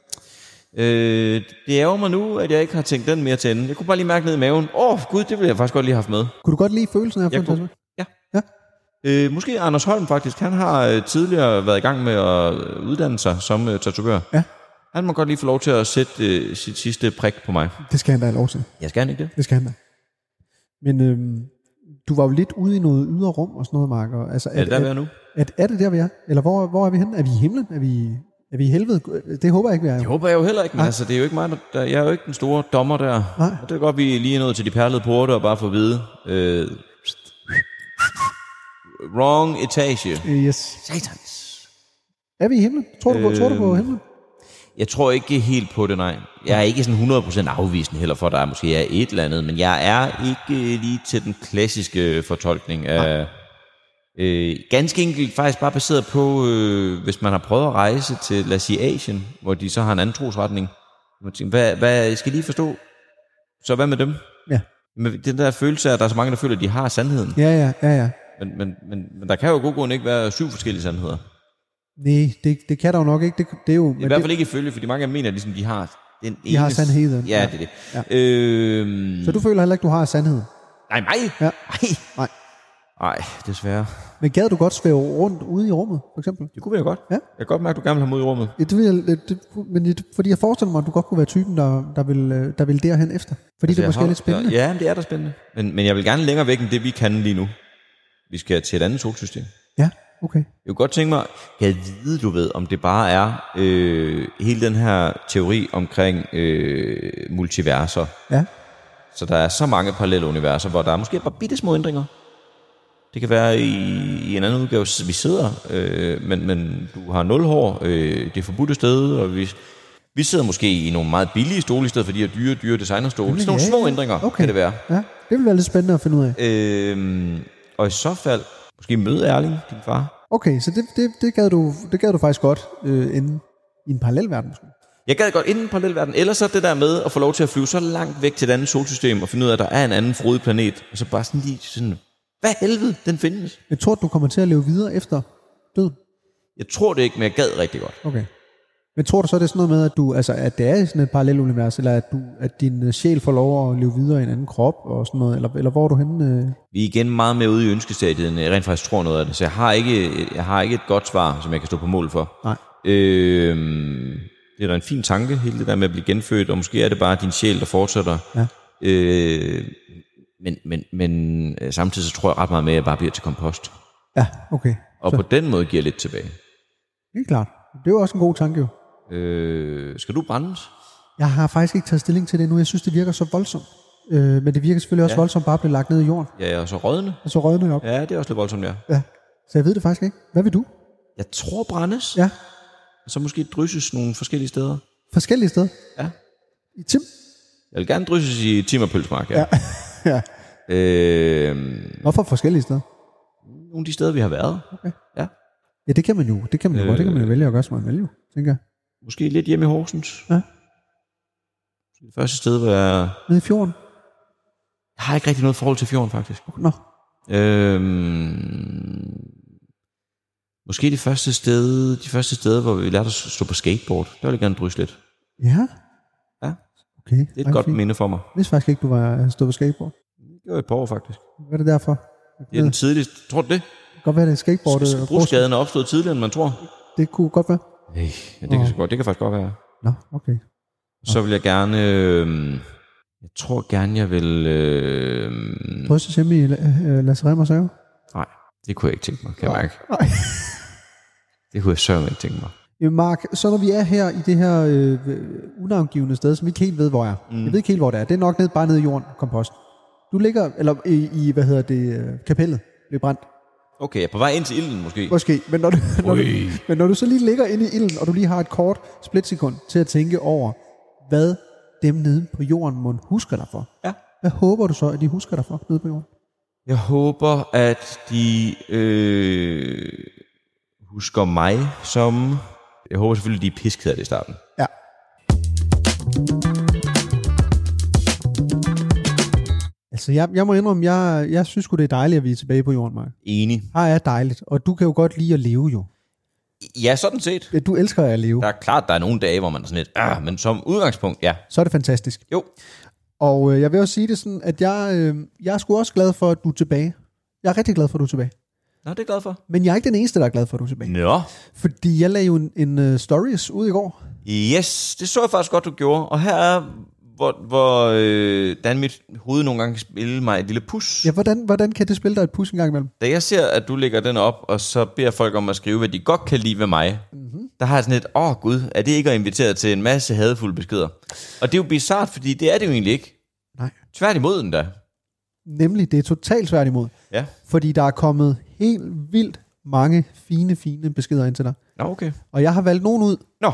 B: Øh, det ærger mig nu, at jeg ikke har tænkt den mere til enden. Jeg kunne bare lige mærke ned i maven, åh oh, gud, det ville jeg faktisk godt lige have haft med.
A: Kunne du godt lide følelsen af at få
B: Jeg
A: en
B: kunne-
A: tatovering?
B: Øh, måske Anders Holm faktisk, han har øh, tidligere været i gang med at øh, uddanne sig som øh, tatovør.
A: Ja.
B: Han må godt lige få lov til at sætte øh, sit sidste prik på mig.
A: Det skal han da have lov til.
B: Jeg skal han ikke det.
A: Det skal han da. Men øhm, du var jo lidt ude i noget ydre rum og sådan noget, Mark. Og, altså,
B: Er det der, vi er nu?
A: at, er det der, vi er? Eller hvor, hvor er vi henne? Er vi i himlen? Er vi, er vi i helvede? Det håber jeg ikke, vi er.
B: Det håber jeg jo heller ikke, men altså, det er jo ikke mig, der, der, jeg er jo ikke den store dommer der.
A: Nej.
B: Og det er godt, vi lige er nået til de perlede porte og bare får at vide. Øh, wrong etage.
A: Øh, Yes.
B: Satans.
A: Er vi i himlen? Tror du, på, tror du
B: Øhm.
A: på himlen?
B: Jeg tror ikke helt på det, nej. Jeg er ikke sådan 100% afvisende heller for, at der måske er et eller andet, men jeg er ikke øh, lige til den klassiske øh, fortolkning af... Øh, ganske enkelt faktisk bare baseret på, øh, hvis man har prøvet at rejse til, lad os sige, Asien, hvor de så har en anden trosretning. Man tænker, hvad, hvad skal de forstå? Så hvad med dem?
A: Ja.
B: Men den der følelse af, at der er så mange, der føler, at de har sandheden.
A: Ja, ja, ja, ja.
B: Men, men, men, men der kan jo af god grund ikke være syv forskellige sandheder.
A: Nej, det, det kan der jo nok ikke. Det, det er jo,
B: I
A: men
B: hvert
A: det,
B: fald ikke ifølge, fordi mange af dem mener, at ligesom, de har den ene...
A: har sandheden.
B: Ja, det er det. Ja. Øhm,
A: så du føler heller ikke, du har sandhed.
B: Nej, mig?
A: Ja.
B: Nej.
A: Nej.
B: Nej, desværre.
A: Men gad du godt svæve rundt ude i rummet, for eksempel?
B: Det kunne jeg godt.
A: Ja.
B: Jeg kan godt mærke, at du gerne vil have mod i rummet.
A: Ja, det vil jeg, det- det, men det, fordi jeg forestiller mig, at du godt kunne være typen, der, der, vil, øh, der vil derhen efter. Fordi altså, det er måske er lidt spændende.
B: Ja, men det er da spændende. Men, men jeg vil gerne længere væk end det, vi kan lige nu. Vi skal til et andet solsystem.
A: ja, okay.
B: Jeg kunne godt tænke mig, kan jeg vide, du ved, om det bare er øh, hele den her teori omkring øh, multiverser.
A: Ja.
B: Så der er så mange parallelle universer, hvor der er måske bare bitte små ændringer. Det kan være i, i en anden udgave, s- vi sidder, øh, men, men du har nul hår, øh, det er forbudte sted, og vi, vi sidder måske i nogle meget billige stole i stedet for de her dyre, dyre designerstole. Sådan nogle
A: ja,
B: små ændringer okay. kan det være.
A: Ja, det vil være lidt spændende at finde ud af.
B: Øh, og i så fald, måske møde Erling, din far.
A: Okay, så det, det, det, gad, du, det gad du faktisk godt øh, inde i en parallelverden. Måske.
B: Jeg gad godt inden parallelverden, ellers så det der med at få lov til at flyve så langt væk til et andet solsystem, og finde ud af, at der er en anden frodig planet, og så bare sådan lige sådan, hvad helvede, den findes.
A: Jeg tror, du kommer til at leve videre efter døden.
B: Jeg tror det ikke, men jeg gad rigtig godt.
A: Okay. Men tror du så, det er sådan noget med, at, du, altså, at det er i sådan et parallelunivers, eller at, du, at din øh, sjæl får lov at leve videre i en anden krop og sådan noget, eller, eller hvor er du henne? Øh?
B: Vi er igen meget mere ude i ønskestadiet, end jeg rent faktisk tror noget af det. Så jeg har ikke, jeg har ikke et godt svar, som jeg kan stå på mål for.
A: Nej.
B: Øh, det er da en fin tanke, hele det der med at blive genfødt, og måske er det bare din sjæl, der fortsætter.
A: Ja.
B: Øh, men, men, men øh, samtidig så tror jeg ret meget med, at jeg bare bliver til kompost.
A: Ja, okay.
B: Og så. på den måde giver jeg lidt tilbage.
A: Helt klart. Det er jo også en god tanke jo.
B: Øh, skal du brændes?
A: Jeg har faktisk ikke taget stilling til det nu. Jeg synes, det virker så voldsomt. Øh, men det virker selvfølgelig også ja. voldsomt bare at blive lagt ned i jorden,
B: Ja, jeg er så rådende.
A: og så rødner jeg op. Ja.
B: Ja, det er også lidt voldsomt, ja.
A: ja. Så jeg ved det faktisk ikke. Hvad vil du?
B: Jeg tror brændes,
A: Ja,
B: og så måske drysses nogle forskellige steder.
A: forskellige steder.
B: Ja.
A: I Tim?
B: Jeg vil gerne drysses i Timmerpølsmark, ja.
A: ja.
B: ja. Øh,
A: Hvorfor forskellige steder?
B: nogle af de steder, vi har været.
A: Okay.
B: Ja.
A: Ja, det kan man jo. Det kan man jo øh, det kan man jo vælge at gøre, som man vælger, tænker jeg.
B: Måske lidt hjemme i Horsens.
A: Ja.
B: Det første sted, hvor jeg...
A: Nede i fjorden.
B: Jeg har ikke rigtig noget forhold til fjorden, faktisk.
A: Nå.
B: Øhm, måske det første sted, de første steder, hvor vi lærte at stå på skateboard. Der vil jeg gerne drysse lidt.
A: Ja.
B: Ja.
A: Okay.
B: Det er et godt minde for mig.
A: Jeg vidste faktisk ikke, du var stået på skateboard.
B: Det var et par år, faktisk.
A: Hvad er det derfor?
B: Det er den tidligste... Tror du det?
A: Det kan godt være, det er skateboardet.
B: Øh,
A: og grus-
B: Brugsskaden er opstået tidligere, end man tror.
A: Det kunne godt være.
B: Nej, ja, det, kan, så godt, det kan faktisk godt være.
A: Nå, okay.
B: Mm. Så vil jeg gerne... Øh, jeg tror gerne, jeg vil... Øh,
A: øh, Brystes hjemme i La- øh, Lasse Remmers have.
B: nej. Det kunne jeg ikke tænke mig, kan jeg
A: Nej.
B: mærke.
A: Nej.
B: Det kunne jeg sørme ikke tænke mig.
A: Øh, Mark, så når vi er her i det her øh, øh, unavngivende sted, som vi ikke helt ved, hvor er. Mm. Jeg ved ikke helt, hvor det er. Det er nok ned, bare nede i jorden, kompost. Du ligger, eller i, i hvad hedder det, øh, kapellet, blev brændt.
B: Okay, jeg er på vej ind til ilden måske.
A: Måske, men når, du, når du,
B: Ui.
A: men når du så lige ligger inde i ilden, og du lige har et kort splitsekund til at tænke over, hvad dem nede på jorden må husker dig for.
B: Ja.
A: Hvad håber du så, at de husker dig for nede på jorden?
B: Jeg håber, at de øh, husker mig som... Jeg håber selvfølgelig, de er pisket af det i starten.
A: Ja. Altså, jeg, jeg må indrømme, jeg, jeg synes sgu, det er dejligt, at vi er tilbage på jorden, Mark.
B: Enig.
A: Her er dejligt, og du kan jo godt lide at leve jo.
B: Ja, sådan set.
A: Ja, Du elsker at leve.
B: Der er klart, der er nogle dage, hvor man er sådan lidt... Ah, men som udgangspunkt, ja.
A: Så er det fantastisk.
B: Jo.
A: Og øh, jeg vil også sige det sådan, at jeg, øh, jeg er sgu også glad for, at du er tilbage. Jeg er rigtig glad for, at du er tilbage.
B: Nå, det er jeg glad for.
A: Men jeg er ikke den eneste, der er glad for, at du er tilbage.
B: Nå.
A: Fordi jeg lagde jo en, en uh, stories ud i går.
B: Yes, det så jeg faktisk godt, du gjorde. Og her er, hvor, hvor øh, Dan mit hoved nogle gange spiller mig et lille pus.
A: Ja, hvordan, hvordan kan det spille dig et pus en gang imellem?
B: Da jeg ser, at du lægger den op, og så beder folk om at skrive, hvad de godt kan lide ved mig, mm-hmm. der har jeg sådan et, åh oh, gud, er det ikke at invitere til en masse hadfulde beskeder? Og det er jo bizart, fordi det er det jo egentlig ikke.
A: Nej.
B: Tværtimod endda.
A: Nemlig, det er totalt svært imod.
B: Ja.
A: Fordi der er kommet helt vildt mange fine, fine beskeder ind til dig.
B: Nå, okay.
A: Og jeg har valgt nogen ud,
B: Nå,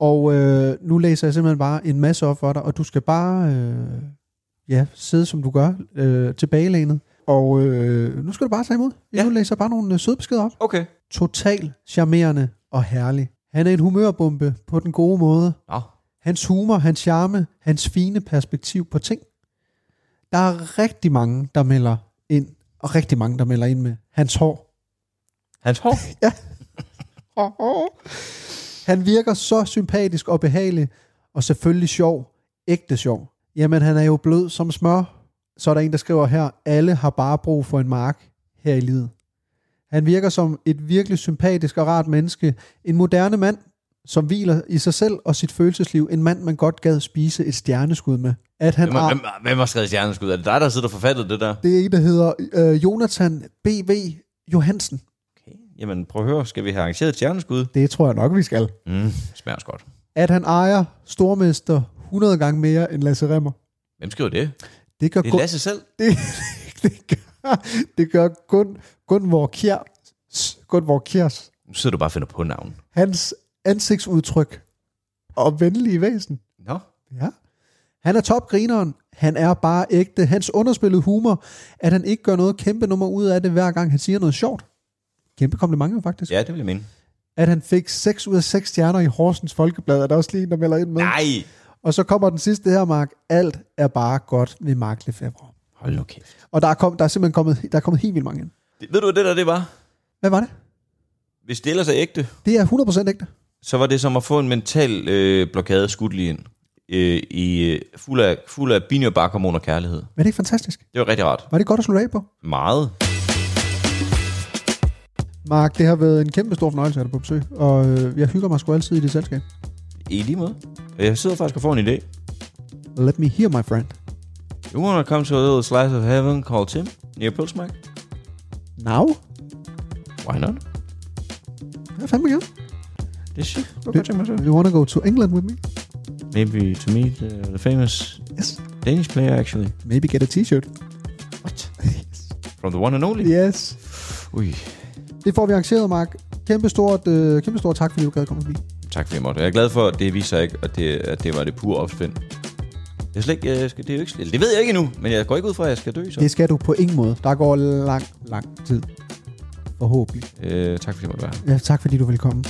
A: og øh, nu læser jeg simpelthen bare en masse op for dig, og du skal bare øh, ja, sidde, som du gør, øh, tilbagelænet. Og øh, nu skal du bare tage imod. Jeg
B: Ja.
A: ja. nu læser bare nogle øh, søde beskeder op.
B: okay.
A: Total charmerende og herlig. Han er en humørbombe på den gode måde.
B: Nå.
A: Hans humor, hans charme, hans fine perspektiv på ting. Der er rigtig mange, der melder ind, og rigtig mange, der melder ind med hans hår.
B: Hans hår.
A: Han virker så sympatisk og behagelig, og selvfølgelig sjov. Ægte sjov. Jamen, han er jo blød som smør. Så er der en, der skriver her, alle har bare brug for en mark her i livet. Han virker som et virkelig sympatisk og rart menneske. En moderne mand, som hviler i sig selv og sit følelsesliv. En mand, man godt gad spise et stjerneskud med. At han
B: Hvem,
A: har...
B: har, hvem, hvem har skrevet stjerneskud? Er det dig, der sidder og forfattet det der?
A: Det er en, der hedder øh, Jonathan B.V. Johansen.
B: Okay. Jamen, prøv at høre, skal vi have arrangeret et stjerneskud?
A: Det tror jeg nok, vi skal.
B: Mm, smager også godt.
A: At han ejer stormester 100 gange mere end Lasse Remmer.
B: Hvem skriver det?
A: Det gør,
B: Det
A: kun,
B: er Lasse selv.
A: det, det gør, det gør kun, Gunvor Kjærs, Gunvor Kjærs.
B: Nu sidder du bare og finder på navn.
A: Hans ansigtsudtryk og venlige væsen.
B: Nå.
A: Ja. Han er topgrineren. Han er bare ægte. Hans underspillede humor, at han ikke gør noget kæmpe nummer ud af det, hver gang han siger noget sjovt. Kæmpe kompliment jo faktisk.
B: Ja, det vil jeg mene.
A: at han fik 6 ud af 6 stjerner i Horsens Folkeblad. Er der også lige en, der melder ind med?
B: Nej.
A: Og så kommer den sidste her, Mark. Alt er bare godt ved Mark Lefebvre.
B: Hold nu kæft.
A: Og der er, kom, der er simpelthen kommet, der er kommet helt vildt mange ind.
B: Det, ved du, hvad det der det var?
A: Hvad var det?
B: Hvis det ellers er ægte,
A: Det er 100% ægte.
B: så var det som at få en mental øh, blokade skudt lige ind. Øh, i, øh, fuld af, fuld af binyrbarkhormon og kærlighed.
A: Men det er ikke fantastisk.
B: Det var rigtig rart.
A: Var det godt at slå af på?
B: Meget.
A: Mark, det har været en kæmpe stor fornøjelse at have dig på besøg. Og øh, jeg hygger mig sgu altid i dit selskab.
B: I lige måde. Jeg sidder faktisk og får en idé.
A: Let me hear, my friend.
B: You wanna come to a little slice of heaven called Tim? Near Pilsmark?
A: Now?
B: Why not?
A: Hvad fandme gerne?
B: Det er shit. Du
A: kan You wanna go to England with me?
B: Maybe to meet uh, the famous
A: Yes.
B: Danish player, actually.
A: Maybe get a t-shirt.
B: What? From the one and only?
A: Yes.
B: Ui,
A: Det får vi arrangeret, Mark. Kæmpe stort, øh, kæmpe stort tak, fordi du gad komme forbi.
B: tak fordi jeg måtte. Jeg er glad for, at det viser ikke, at det, at det var det pure opspind. Jeg slet ikke, jeg skal, det, er jo ikke, eller det ved jeg ikke endnu, men jeg går ikke ud fra, at jeg skal dø. Så.
A: Det skal du på ingen måde. Der går lang, lang tid. Forhåbentlig.
B: Øh, tak fordi jeg måtte være her.
A: Ja, tak fordi du vil komme.